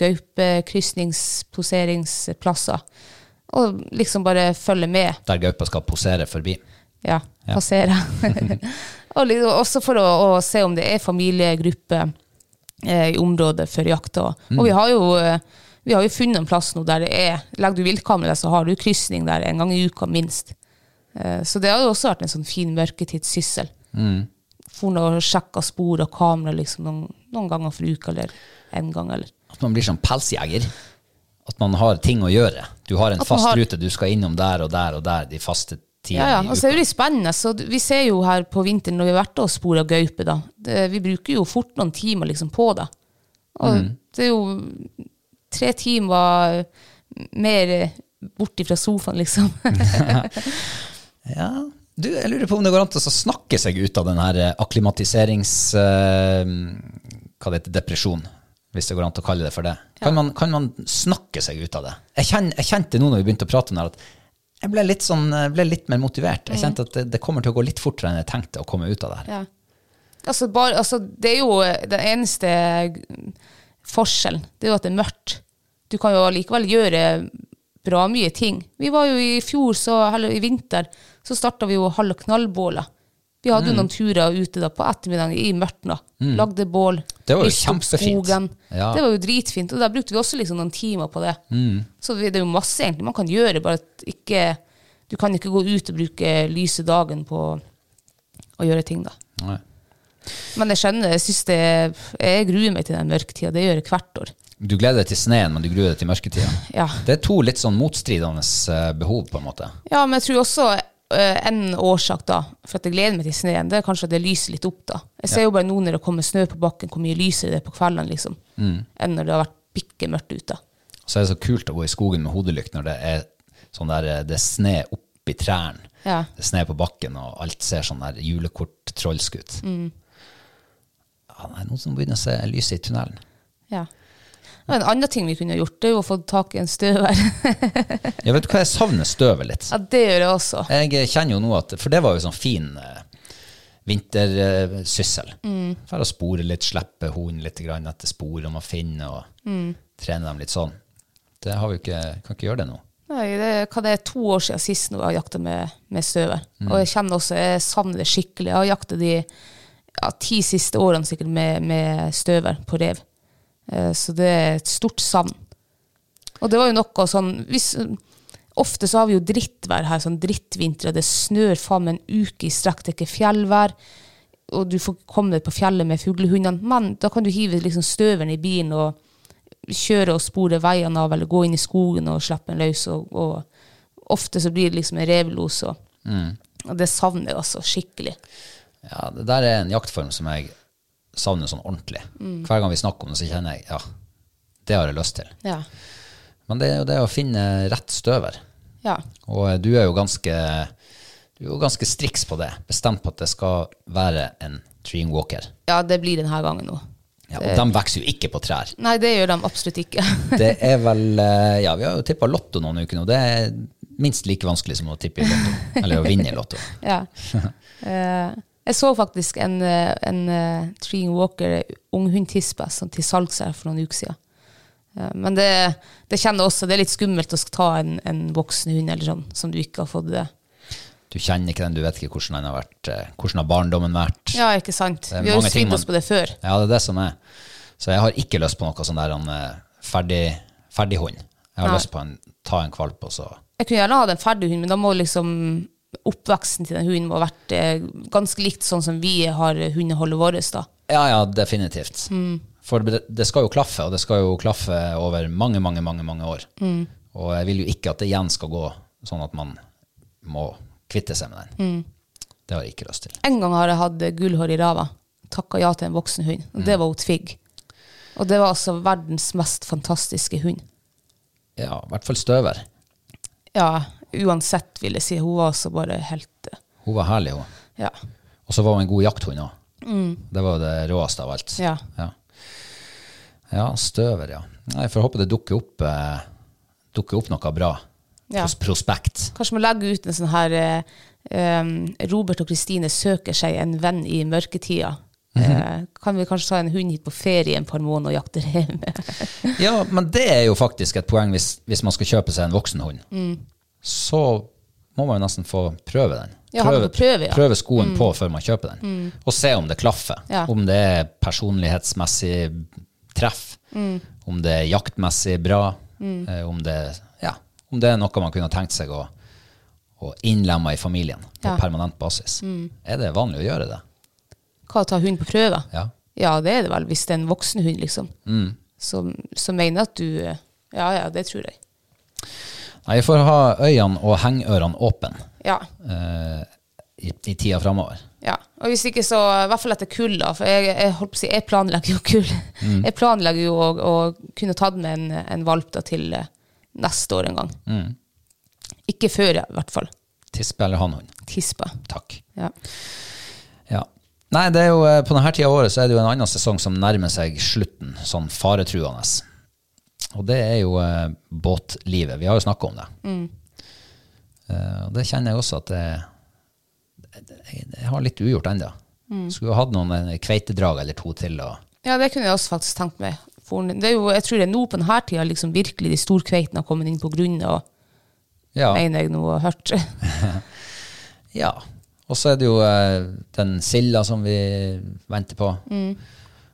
gaupekrysningsposeringsplasser. Og liksom bare følger med.
Der gaupa skal posere forbi.
Ja, passere. og liksom, også for å, å se om det er familiegrupper eh, i området for jakta. Og vi har, jo, eh, vi har jo funnet en plass nå der det er Legger du viltkamera, så har du krysning der en gang i uka minst. Eh, så det har jo også vært en sånn fin mørketidssyssel. For å sjekke spor og kamera liksom, noen, noen ganger for uka eller en gang. Eller.
At man blir sånn pelsjeger. At man har ting å gjøre. Du har en
At man
fast
har-
rute, du skal innom der og der og der de faste tidene.
Ja, altså, ja.
i
Og så er
uka.
det litt spennende. Så d- vi ser jo her på vinteren når vi har vært og spora gaupe, da. Det, vi bruker jo fort noen timer liksom på det. Og det er jo tre timer mer eh, bort ifra sofaen, liksom.
Ja. Du, jeg lurer på om det går an til å snakke seg ut av den her eh, akklimatiserings... eh, hva det heter, depresjon. Hvis det går an til å kalle det for det. Kan, man, kan man snakke seg ut av det? Jeg, kjenn, jeg kjente nå når vi begynte å prate om det, her, at jeg ble litt, sånn, jeg ble litt mer motivert. Jeg
Mm.
kjente at det, det kommer til å gå litt fortere enn jeg tenkte å komme ut av det her.
altså, bare, altså, det er jo den eneste g- forskjellen. Det er jo at det er mørkt. Du kan jo likevel gjøre bra mye ting. Vi var jo i fjor, så, eller i vinter, så starta vi jo halv- og knallbåla. Vi hadde
Mm.
jo noen turer ute da på ettermiddagen i mørket. da. Lagde bål.
Det var jo
lyste opp
kjempefint.
skogen.
Ja. Mm.
Det var jo dritfint. Og der brukte vi også liksom noen timer på det. Så det det er jo masse egentlig man kan gjøre, bare at ikke Du kan ikke gå ut og bruke lyse dagen på å gjøre ting, da.
Nei.
Men jeg skjønner, jeg synes det Jeg gruer meg til den mørketida. Det gjør jeg hvert år.
Du gleder deg til sneen, men du gruer deg til mørketida.
Ja.
Det er to litt sånn motstridende eh, behov, på en måte.
Ja, men jeg tror også eh, en årsak da, for at jeg gleder meg til sneen, det er kanskje at det lyser litt opp da. Jeg ser jo bare nå når det kommer snø på bakken, hvor mye lysere det er på kveldene, liksom, enn når det har vært bikke mørkt ute.
Så er det så kult å gå i skogen med hodelykt når det er sånn der eh, det er sne oppi trærne.
Ja.
Det er sne på bakken, og alt ser sånn der julekort-trolsk ut. Ja, nei, noen som begynner å se lyset i tunnelen.
Ja. Og en annen ting vi kunne gjort, det er jo å få tak i en støver.
Ja, vet du hva, jeg savner støvet litt.
ja, det gjør jeg også.
Jeg kjenner jo nå at For det var jo sånn fin eh, vintersyssel. Mm. For å spore litt, slippe hunden litt grann etter spor man finner, og trene dem litt sånn. Det har vi jo ikke, kan ikke gjøre det nå.
Nei, det, er- hva det er to år siden sist når jeg har jakta med, med støver. Og jeg kjenner også, jeg savner det skikkelig. Jeg har jakta de ja, ti siste årene sikkert med, med støver på rev. Eh, Så det er et stort savn. Og det var jo noe sånn hvis, Ofte så har vi jo drittvær her, sånn drittvintre, og det snør faen meg en uke i strekk, det er ikke fjellvær, og du får ikke komme deg på fjellet med fuglehundene. Men da kan du hive liksom støvelen i bilen og kjøre og spore veiene av, eller gå inn i skogen og slippe den løs. Og, og ofte så blir det liksom en revlos, og,
Mm.
og det savner jeg altså skikkelig.
Ja, det der er en jaktform som jeg savner sånn ordentlig. Hver gang vi snakker om det, så kjenner jeg ja, det har jeg lyst til.
Ja.
Men det er jo det å finne rett støver.
ja.
Og eh, du er jo ganske, du er jo ganske striks på det. Bestemt på at det skal være en treeing walker.
det blir denne gangen nå.
Ja, og de vokser jo ikke på trær.
Nei, det gjør de absolutt ikke.
Det er vel eh, Ja, vi har jo tippa Lotto noen uker nå. Det er minst like vanskelig som å tippe i Lotto. Eller å vinne i Lotto.
ja. Eh, jeg så faktisk en, eh, en eh, Treeing Walker unghundtispe som til salgs her for noen uker siden. Eh, men det, det kjenner jeg også, det er litt skummelt å skal ta en, en voksen hund eller sånn, som du ikke har fått det.
Du kjenner ikke den, du vet ikke hvordan den har vært, eh, hvordan har barndommen vært.
Ja, ikke sant?
Det er
Vi har jo
mange ting
svidd
man-
oss på det før.
Ja, det er det som er. Så jeg har ikke lyst på noe sånn der en eh, ferdig, ferdig hund. Jeg har
Nei.
lyst på en ta en kvalp, og så
Jeg kunne gjerne hatt en ferdig hund, men da må liksom oppveksten til den hunden må ha vært eh, ganske likt sånn som vi har hundeholdet vårt. da.
Ja, ja, definitivt.
Mm.
For det, det skal jo klaffe, og det skal jo klaffe over mange, mange, mange, mange år.
Mm.
Og jeg vil jo ikke at det igjen skal gå sånn at man må kvitte seg med den.
Mm.
Det har jeg ikke lyst til.
En gang har jeg hatt gullhår i ræva. Takka ja til en voksen hund. Og det var hun Tvigg. Og det var altså verdens mest fantastiske hund.
Ja, i hvert fall støver.
Ja, uansett, vil jeg si. Hun var altså bare helt eh,
Hun var herlig, hun.
Ja.
Og så var hun en god jakthund òg. Det var jo det råeste av alt.
Mm. Ja.
Ja, Ja, støver, ja. Nei, Får håpe det dukker opp, eh, dukker opp noe bra.
Ja.
Pros prospekt.
Kanskje man legger ut en sånn her eh, eh, Robert og Kristine søker seg en venn i mørketida. Eh, kan vi kanskje ta en hund hit på ferie en par måneder og jakte rev med?
Ja, men det er jo faktisk et poeng hvis, hvis man skal kjøpe seg en voksen hund.
Mm.
Så må man jo nesten få prøve den.
Ja, ha den på prøve, ja. Mm.
skoen på før man kjøper den. Og se om det klaffer.
Ja.
Om det er personlighetsmessig treff.
Mm.
Om det er jaktmessig bra. eh, Om, det, ja, om det er noe man kunne tenkt seg å, å innlemme i familien på
Ja. Mm.
permanent basis. Er det vanlig å gjøre det?
Hva ta hund på prøve?
Ja.
Ja, det er det vel, hvis det er en voksen hund, liksom. Som, som mener at du eh, Ja, ja, det tror jeg.
Nei, vi får ha øynene og hengørene åpne
Ja.
eh, i, i tida framover.
ja. Og hvis ikke, så i hvert fall etter kull, da. For jeg, jeg, holdt på å si, jeg planlegger jo kull. Jeg planlegger jo å, å kunne tatt med en, en valp da, til eh, neste år en gang.
Mm.
Ikke før, i hvert fall.
Tispe eller hannhund?
Tispa.
Takk.
Ja.
Ja. Nei, det er jo, eh, på denne tida av året så er det jo en annen sesong som nærmer seg slutten, sånn faretruende. Og det er jo eh, båtlivet. Vi har jo snakka om det. Eh, og det kjenner jeg også at det, jeg, jeg har litt ugjort ennå. Skulle jo hatt noen eh, kveitedrag eller to til. Og,
ja, det kunne jeg også faktisk tenkt meg. For det er jo, jeg tror det er nå på denne tida liksom virkelig de storkveitene har kommet inn på grunnet, og
ja.
mener jeg nå har hørt.
Ja. Og så er det jo eh, den silda som vi venter på.
Mm.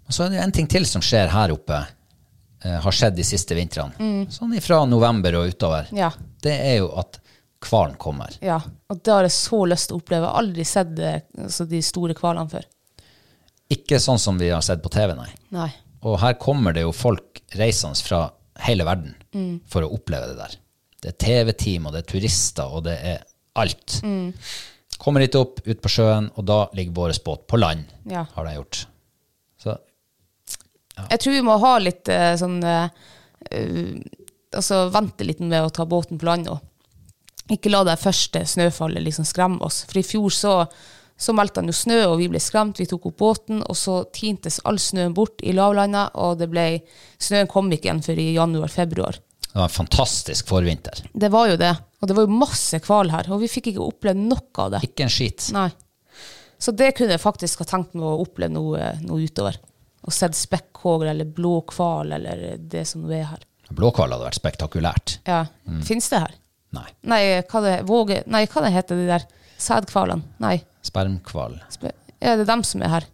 Og så er det jo en ting til som skjer her oppe, eh, har skjedd de siste vintrene. Sånn ifra november og utover.
Mm. Ja.
Det er jo at hvalen kommer.
Ja, og det har jeg så lyst til å oppleve. Jeg har aldri sett eh, altså, de store hvalene før.
Ikke sånn som vi har sett på TV, nei.
Nei.
Og her kommer det jo folk reisende fra hele verden
Mm.
for å oppleve det der. Det er TV-team, og det er turister, og det er alt.
Mm.
Kommer hit opp, ut på sjøen, og da ligger vår båt på land,
Ja.
har de gjort. Så
Jeg tror vi må ha litt eh, sånn eh, eh, Altså vente litt med å ta båten på land nå. Ikke la det første snøfallet liksom skremme oss. For i fjor så, så meldte han jo snø, og vi ble skremt. Vi tok opp båten, og så tintes all snøen bort i lavlandet, og det ble, snøen kom ikke igjen før i januar-februar.
Det var en fantastisk forvinter.
Det var jo det. Og det var jo masse hval her, og vi fikk ikke opplevd noe av det.
Ikke en skit.
Nei. Så det kunne jeg faktisk ha tenkt meg å oppleve noe, noe utover. Og sett spekkhoger eller blå hval eller det som nå er her.
Blåkval hadde vært spektakulært.
Ja. Fins det her?
Nei.
Nei, hva det, våge, nei, hva det heter de der sædhvalene? Nei.
Spermkval.
Spe, er det dem som er her?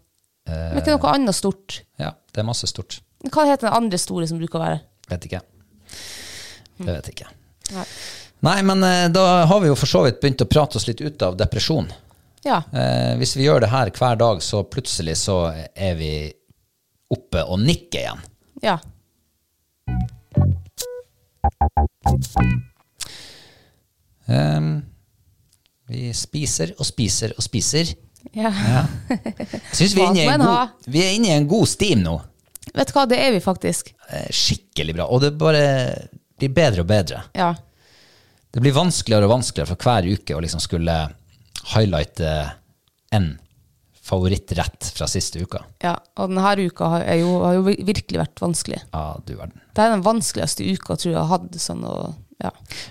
Men ikke noe annet stort?
Ja, det er masse stort.
Hva heter den andre store som bruker å være her?
Vet ikke. Det vet ikke.
Mm. Nei.
Nei, men eh, da har vi jo for så vidt begynt å prate oss litt ut av depresjon.
Ja.
Eh, hvis vi gjør det her hver dag, så plutselig så er vi oppe og nikker igjen.
ja.
Ehm, vi spiser og spiser og spiser.
ja.
Jeg synes vi, er inne i
Hva skal
en
en ha?
god- vi er inne i en god stim nå.
Vet du hva, det er vi faktisk.
Eh, Skikkelig bra. Og det bare blir bedre og bedre.
Ja.
Det blir vanskeligere og vanskeligere for hver uke å liksom skulle highlighte en favorittrett fra siste uka.
ja. Og denne uka har, er jo, har jo virkelig vært vanskelig.
Ja, du verden.
Det er den vanskeligste uka tror jeg jeg har hatt. Sånn, og, ja.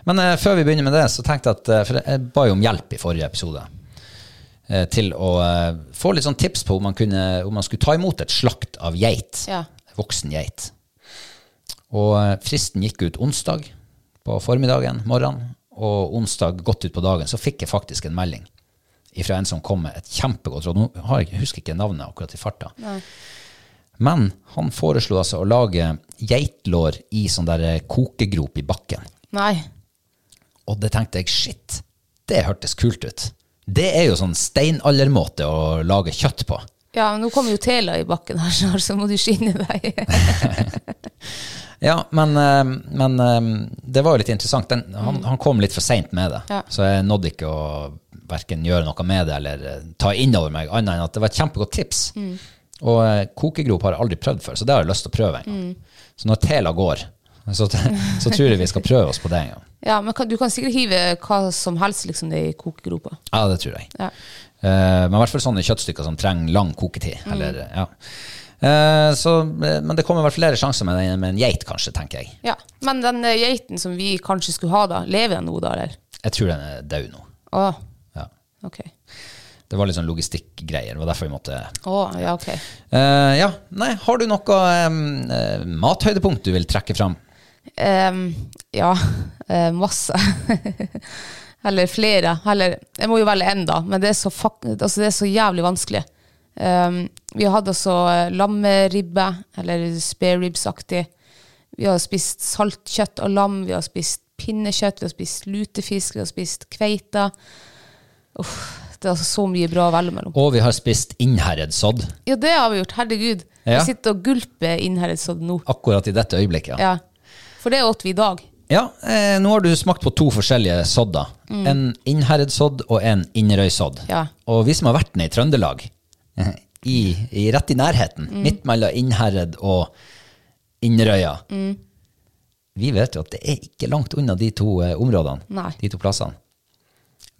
Men eh, før vi begynner med det, så tenkte jeg at eh, For jeg ba jo om hjelp i forrige episode. Eh, til å eh, få litt sånn tips på om man, kunne, om man skulle ta imot et slakt av geit.
Ja.
Voksen geit. Og eh, fristen gikk ut onsdag på formiddagen, morgenen. Og onsdag godt utpå dagen så fikk jeg faktisk en melding fra en som kom med et kjempegodt råd. Nå har jeg, ikke- husker jeg ikke navnet akkurat i farta. Men han foreslo altså å lage geitlår i sånn der eh, kokegrop i bakken.
Nei.
Og det tenkte jeg, shit, det hørtes kult ut. Det er jo sånn steinaldermåte å lage kjøtt på.
Ja, men nå kommer jo tela i bakken her snart, så må du skynde deg.
Ja, men, eh, men eh, det var jo litt interessant. Den, han, han kom litt for seint med det,
Ja.
så jeg nådde ikke å verken gjøre noe med det eller eh, ta inn over meg, annet enn at det var et kjempegodt tips. Og eh, kokegrop har jeg aldri prøvd før, så det har jeg lyst til å prøve en gang. Så når tela går, så, så tror jeg vi skal prøve oss på det en gang.
Ja, men kan, du kan sikkert hive hva som helst liksom, ned i kokegropa.
Ja, det tror jeg.
Ja.
Eh, men i hvert fall sånne kjøttstykker som trenger lang koketid. Eller, ja. Eh, så, eh, men det kommer i hvert fall flere sjanser med, en- med en geit, kanskje, tenker jeg.
ja. Men den eh, geiten som vi kanskje skulle ha da, lever den nå da, eller?
Jeg tror den er død nå.
Å,
Ja.
ok.
Det var litt sånn logistikkgreier. Det var derfor vi måtte
Å, ja, ok.
Eh, Ja, nei, har du noe em, eh, mathøydepunkt du vil trekke fram?
Ehm, ja, eh, masse. Eller flere. Eller, jeg må jo velge én, da, men det er så, fuck, altså, det er så jævlig vanskelig. Ehm, vi hadde altså eh, lammeribbe, eller spareribs-aktig. Vi har spist saltkjøtt og lam, vi har spist pinnekjøtt, vi har spist lutefisk, vi har spist kveite. Uff, det er altså så mye bra å velge mellom.
Og vi har spist Innherredsodd
Ja, det har vi gjort. Herregud.
Ja.
Jeg sitter og gulper inn her et sånt nå.
akkurat i dette øyeblikket.
Ja. For det åt vi i dag.
Ja, eh, nå har du smakt på to forskjellige sodder. En Innherredsodd og en Inderøysodd.
Mm. Ja.
Og vi som har vært ned i Trøndelag, eh, i, i, rett i nærheten,
Mm.
midt mellom Innherred og Inderøya,
Mm.
vi vet jo at det er ikke langt unna de to eh, områdene,
Nei.
de to plassene.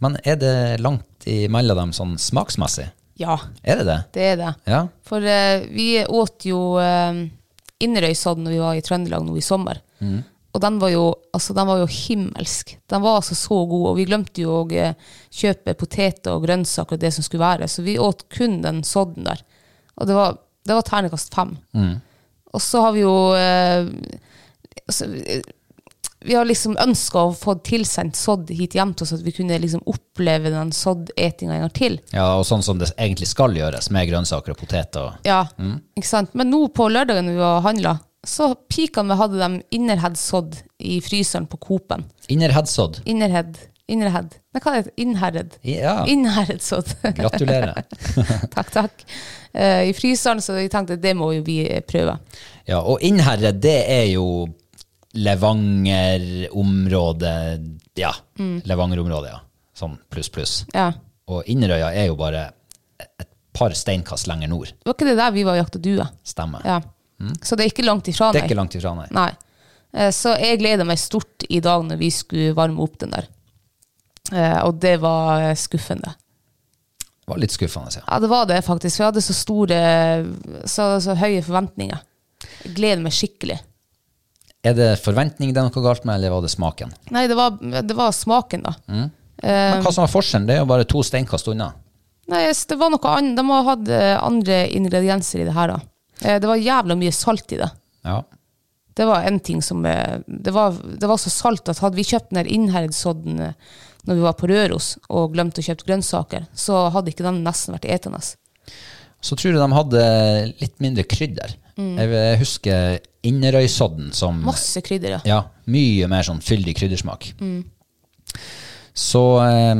Men er det langt imellom dem sånn smaksmessig?
Ja.
Er det det?
Det er det.
Ja.
For eh, vi åt jo uh, Inderøysodd når vi var i Trøndelag nå i sommer. Og den var, jo, altså, den var jo himmelsk. Den var altså så god, og vi glemte jo å eh, kjøpe poteter og grønnsaker og det som skulle være, så vi åt kun den sodden der. Og det var, det var ternekast fem. Og så har vi jo eh, altså, eh, Vi har liksom ønska å få tilsendt sodd hit hjem til oss, at vi kunne liksom oppleve den soddetinga en gang til.
Ja, og sånn som det egentlig skal gjøres, med grønnsaker og poteter. og-
Ja, ikke sant? Men nå på lørdagen vi var og handla, så pikene vi hadde dem innerhead sådd i fryseren på Coop-en.
Innerheadsodd.
Innerhead. Innerhead. Nei, hva heter det? Innherred.
Ja.
Innherred sådd.
Gratulerer.
takk, takk. Eh, I fryseren, så jeg tenkte det må jo vi eh, prøve.
Ja, og Innherre, det er jo Levanger-området Ja. Levanger-området, ja. Sånn pluss, pluss.
Ja.
Og Inderøya er jo bare et par steinkast lenger nord.
Var ikke det der vi var og jakta due?
Stemmer.
Ja. Så det er ikke langt ifra,
Mm. Det er ikke langt ifra, nei.
Nei. Eh, Så jeg gleda meg stort i dag når vi skulle varme opp den der. Eh, Og det var eh, skuffende.
Det var litt skuffende. Ja.
Ja, det var det faktisk. For jeg hadde så store, så, så høye forventninger. Jeg gleder meg skikkelig.
Er det forventning det er noe galt med, eller var det smaken?
Nei, det var, det var smaken, da. Eh,
Men hva som var forskjellen? Det er jo bare to steinkast unna.
Nei, s- det var noe annet. De har hatt eh, andre ingredienser i det her, da. Eh, Det var jævla mye salt i det.
Ja.
Det var en ting som eh, Det var, det var så salt at hadde vi kjøpt den her innherredsodden eh, når vi var på Røros og glemte å kjøpe grønnsaker, så hadde ikke den nesten vært etende.
Så tror jeg de hadde litt mindre krydder. Jeg husker Inderøysodden som
Masse krydder, ja.
Ja, mye mer sånn fyldig kryddersmak. Så eh,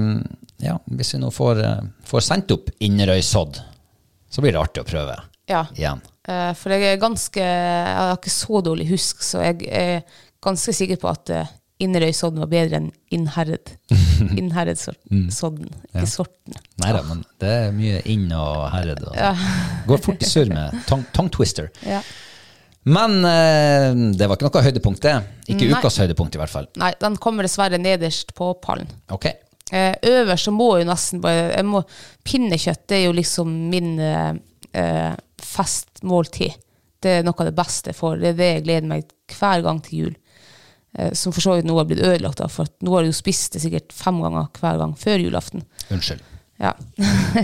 ja, hvis vi nå får, eh, får sendt opp Inderøysodd, så blir det artig å prøve
ja.
igjen.
Eh, For jeg er ganske Jeg har ikke så dårlig husk, så jeg er ganske sikker på at eh, Inderøysodden var bedre enn Innherred. Innherredsodden, sodden, ikke sorten.
Nei da, men det er mye inn og herred. Og Går fort i surr med tongue, tongue twister.
Ja.
Men eh, det var ikke noe høydepunkt, det. Ikke
Nei.
ukas høydepunkt, i hvert fall.
Nei, den kommer dessverre nederst på pallen.
Ok.
Eh, øverst så må jeg jo nesten bare jeg må, Pinnekjøtt det er jo liksom min eh, eh, festmåltid. Det er noe av det beste jeg får. Det er det jeg gleder meg hver gang til jul. Eh, som for så vidt nå har blitt ødelagt, da, for at nå har jeg jo spist det sikkert fem ganger hver gang før julaften.
Unnskyld.
Ja.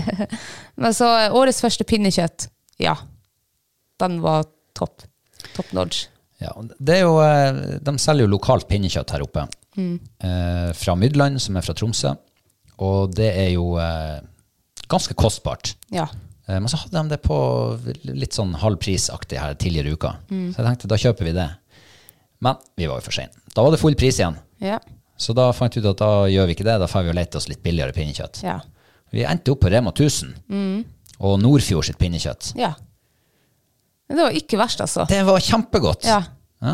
Men så eh, årets første pinnekjøtt, ja. Den var topp. Top notch.
Ja, det er jo, eh, de selger jo lokalt pinnekjøtt her oppe. Eh, fra Mydland, som er fra Tromsø. Og det er jo eh, ganske kostbart.
Ja.
Eh, men så hadde de det på litt sånn halvprisaktig her tidligere i uka. Så jeg tenkte da kjøper vi det. Men vi var jo for seine. Da var det full pris igjen.
Ja.
Så da fant vi ut at da gjør vi ikke det. Da får vi jo lete oss litt billigere pinnekjøtt.
Ja.
Vi endte opp på Rema 1000 og Nordfjord sitt pinnekjøtt.
ja. Men det var ikke verst, altså.
Det var kjempegodt.
Ja.
Ja.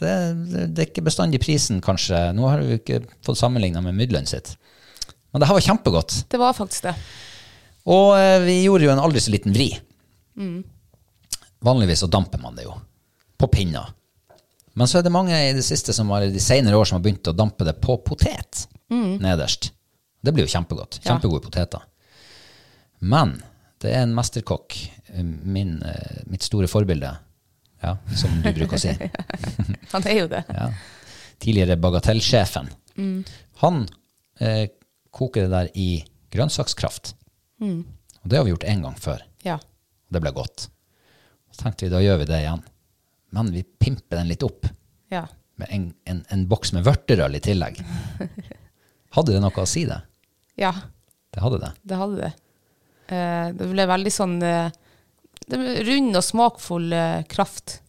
Det, det, det er ikke bestandig prisen, kanskje. Nå har vi jo ikke fått sammenligna med Midland sitt. Men det her var kjempegodt.
Det var faktisk det.
Og eh, vi gjorde jo en aldri så liten vri. Vanligvis så damper man det jo. På pinna. Men så er det mange i det siste som har, i de senere år som har begynt å dampe det på potet nederst. Det blir jo kjempegodt.
Ja.
Kjempegode poteter. Men det er en mesterkokk, eh, min, eh, mitt store forbilde, ja, som du bruker å si.
Han er jo det.
ja. tidligere bagatellsjefen, han eh, koker det der i grønnsakskraft. Og det har vi gjort én gang før,
Ja.
og det ble godt. Så tenkte vi da gjør vi det igjen. Men vi pimper den litt opp
ja.
med en, en, en boks med vørterøl i tillegg. Hadde det noe å si, det?
Ja,
Det hadde det.
det hadde det. Eh, det ble veldig sånn eh, det ble rund og smakfull eh, kraft.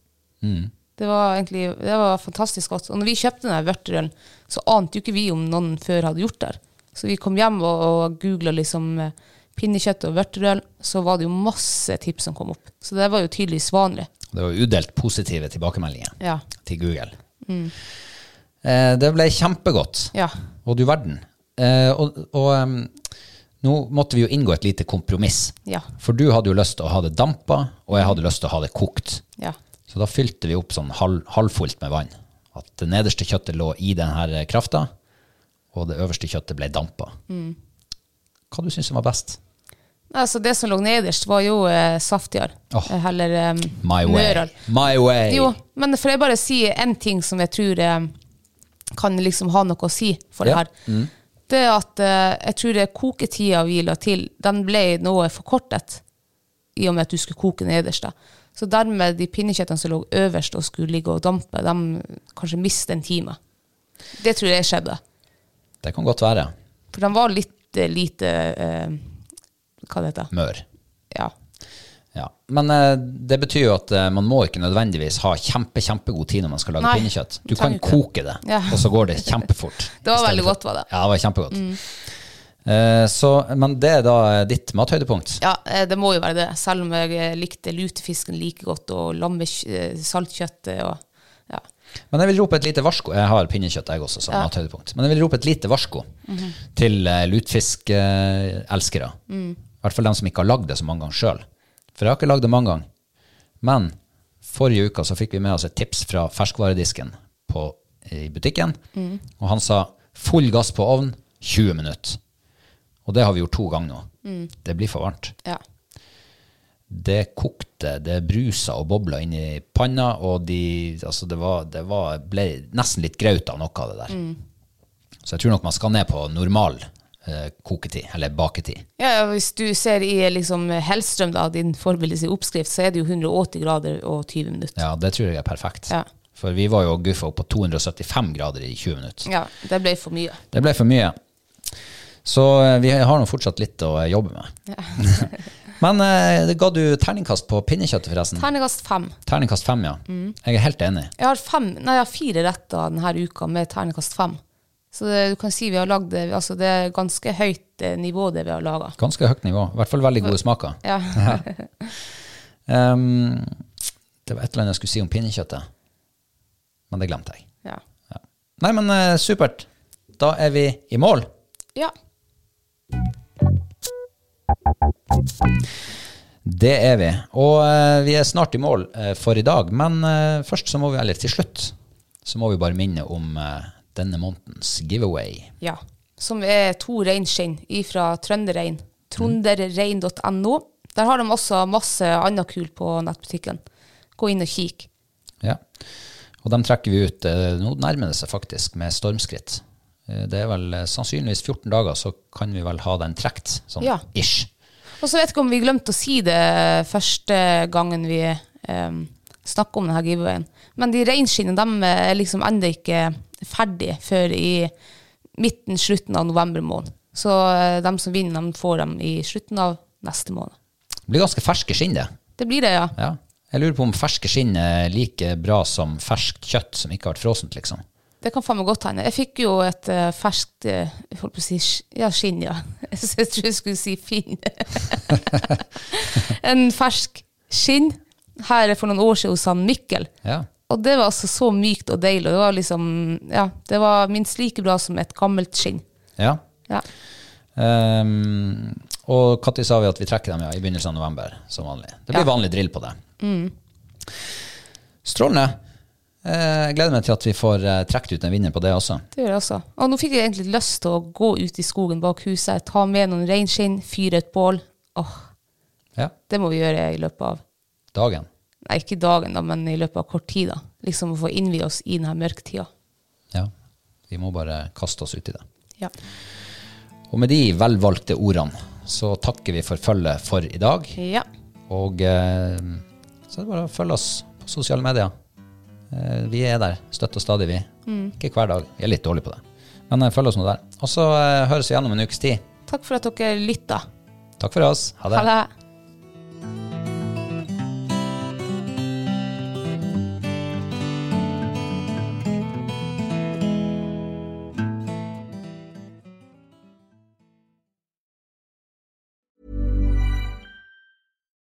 Mm.
Det var egentlig det var fantastisk godt. Og når vi kjøpte den vørterølen, så ante jo ikke vi om noen før hadde gjort det. Så vi kom hjem og, og googla liksom eh, pinnekjøtt og vørterøl, så var det jo masse tips som kom opp. Så det var jo tydeligvis vanlig.
Det var udelt positive tilbakemeldinger
Ja.
til Google. Eh, det ble kjempegodt.
Ja.
Og du verden. Eh, og og em, nå måtte vi jo inngå et lite kompromiss.
Ja.
For du hadde jo lyst til å ha det dampa, og jeg hadde lyst til å ha det kokt.
Ja.
Så da fylte vi opp sånn halv, halvfullt med vann. At det nederste kjøttet lå i denne krafta, og det øverste kjøttet ble dampa. Hva du syns som var best?
Altså, det som lå nederst, var jo eh, saftigere.
Åh.
Eh, Heller eh,
My way.
mørere.
My way.
Jo, men får jeg bare si en ting som jeg tror eh, kan liksom ha noe å si for
Ja.
det her. Det er at eh, jeg tror det koketida vi la til, den ble noe forkortet i og med at du skulle koke nederst. da. Så dermed de pinnekjøttene som lå øverst og skulle ligge og dampe, de kanskje mistet en time. Det tror jeg skjedde.
Det kan godt være.
For de var litt eh, lite eh, Hva det heter det?
Mør.
Ja.
Ja. Men eh, det betyr jo at eh, man må ikke nødvendigvis ha kjempe, kjempegod tid når man skal lage
Nei,
pinnekjøtt. Du kan
trenger ikke.
koke det,
Ja.
og så går det kjempefort.
Det var
I stedet
veldig
for-
godt, var det. Mm.
Ja, det var kjempegodt. Eh, så, men det er da eh, ditt mathøydepunkt.
Ja, eh, det må jo være det. Selv om jeg eh, likte lutefisken like godt, og lammesaltkjøttet og ja.
Men jeg vil rope et lite varsko. Jeg har pinnekjøtt, jeg også, som mathøydepunkt. Men jeg vil rope et lite varsko til uh, lutfiskelskere. I hvert fall dem som ikke har lagd det så mange ganger sjøl. For jeg har ikke lagd det mange ganger. Men forrige uka så fikk vi med oss et tips fra ferskvaredisken på, i butikken. Og han sa full gass på ovn, 20 minutter. Og det har vi gjort to ganger nå. Det blir for varmt
ja.
det kokte, det brusa og bobla inn i panna, og de, altså det, var, det var, ble nesten litt graut av noe av det der.
Mm.
Så jeg tror nok man skal ned på normal eh, koketid, eller baketid.
Ja, ja, Hvis du ser i liksom, Hellstrøm, da, din forbildes i oppskrift, så er det jo 180 grader og 20 minutter.
Ja, det tror jeg er perfekt.
Ja.
For vi var jo guffa opp på 275 grader i 20 minutter.
Ja, det ble for mye.
Det ble for mye. Så eh, vi har nå fortsatt litt å eh, jobbe med. Men eh, ga du terningkast på pinnekjøttet, forresten?
Terningkast fem.
Terningkast fem, ja.
Mm.
Jeg er helt enig.
Jeg har, fem, nei, jeg har fire retter denne uka med terningkast fem. Så det, du kan si vi har lagd det altså Det er ganske høyt eh, nivå, det vi har laga.
Ganske høyt nivå. I hvert fall veldig gode smaker.
Ja.
Ehm, det var et eller annet jeg skulle si om pinnekjøttet, men det glemte jeg.
ja.
Ja. Nei, men eh, supert. Da er vi i mål.
ja.
Det er vi. Og eh, vi er snart i mål eh, for i dag, men eh, først så må vi, eller til slutt, så må vi bare minne om eh, denne månedens giveaway.
Ja, som er to reinskinn ifra Trønderrein. Tronderrein.no. Der har de også masse annet kul på nettbutikken. Gå inn og kikk.
Ja. Og dem trekker vi ut. eh, Nå nærmer det seg faktisk med stormskritt. Eh, Det er vel eh, sannsynligvis 14 dager, så kan vi vel ha den trekt, sånn
Ja.
ish.
Og så vet jeg ikke om vi glemte å si det første gangen vi um, snakka om denne giveawayen, men de reinskinnene de er liksom ennå ikke ferdig før i midten, slutten av november måned. Så eh, de som vinner, de får dem i slutten av neste måned.
Det blir ganske ferske skinn, det.
Det blir det, ja.
Ja. Jeg lurer på om ferske skinn er like bra som ferskt kjøtt som ikke har vært frosent, liksom.
Det kan faen meg godt hende. Jeg fikk jo et eh, ferskt eh, jeg holdt på å si sk- ja, skinn, ja. Så jeg tror jeg skulle si finn. en fersk skinn her for noen år siden hos han Mikkel.
Ja.
Og det var altså så mykt og deilig. og Det var liksom, ja, det var minst like bra som et gammelt skinn.
ja.
Ja.
Ehm, og Katti sa vi at vi trekker dem ja, i begynnelsen av november, som vanlig. Det blir
Ja.
vanlig drill på det. Strålende. Eh, Jeg gleder meg til at vi får eh, trukket ut en vinner på det også.
Det gjør jeg også. Og nå fikk jeg egentlig lyst til å gå ut i skogen bak huset, ta med noen reinskinn, fyre et bål. Åh,
Ja.
det må vi gjøre i løpet av
Dagen.
Nei, ikke dagen, da, men i løpet av kort tid. da. Liksom å få innvie oss i denne mørketida.
Ja. Vi må bare kaste oss ut i det.
Ja.
Og med de velvalgte ordene så takker vi for følget for i dag.
Ja.
Og eh, så er det bare å følge oss på sosiale medier. Eh, vi er der støtt og stadig, vi. Ikke hver dag. Vi er litt dårlige på det. Men eh, følg oss nå der. Og så eh, høres vi igjen om en ukes tid.
Takk for at dere lytta.
Takk for oss. Ha det.
Ha det.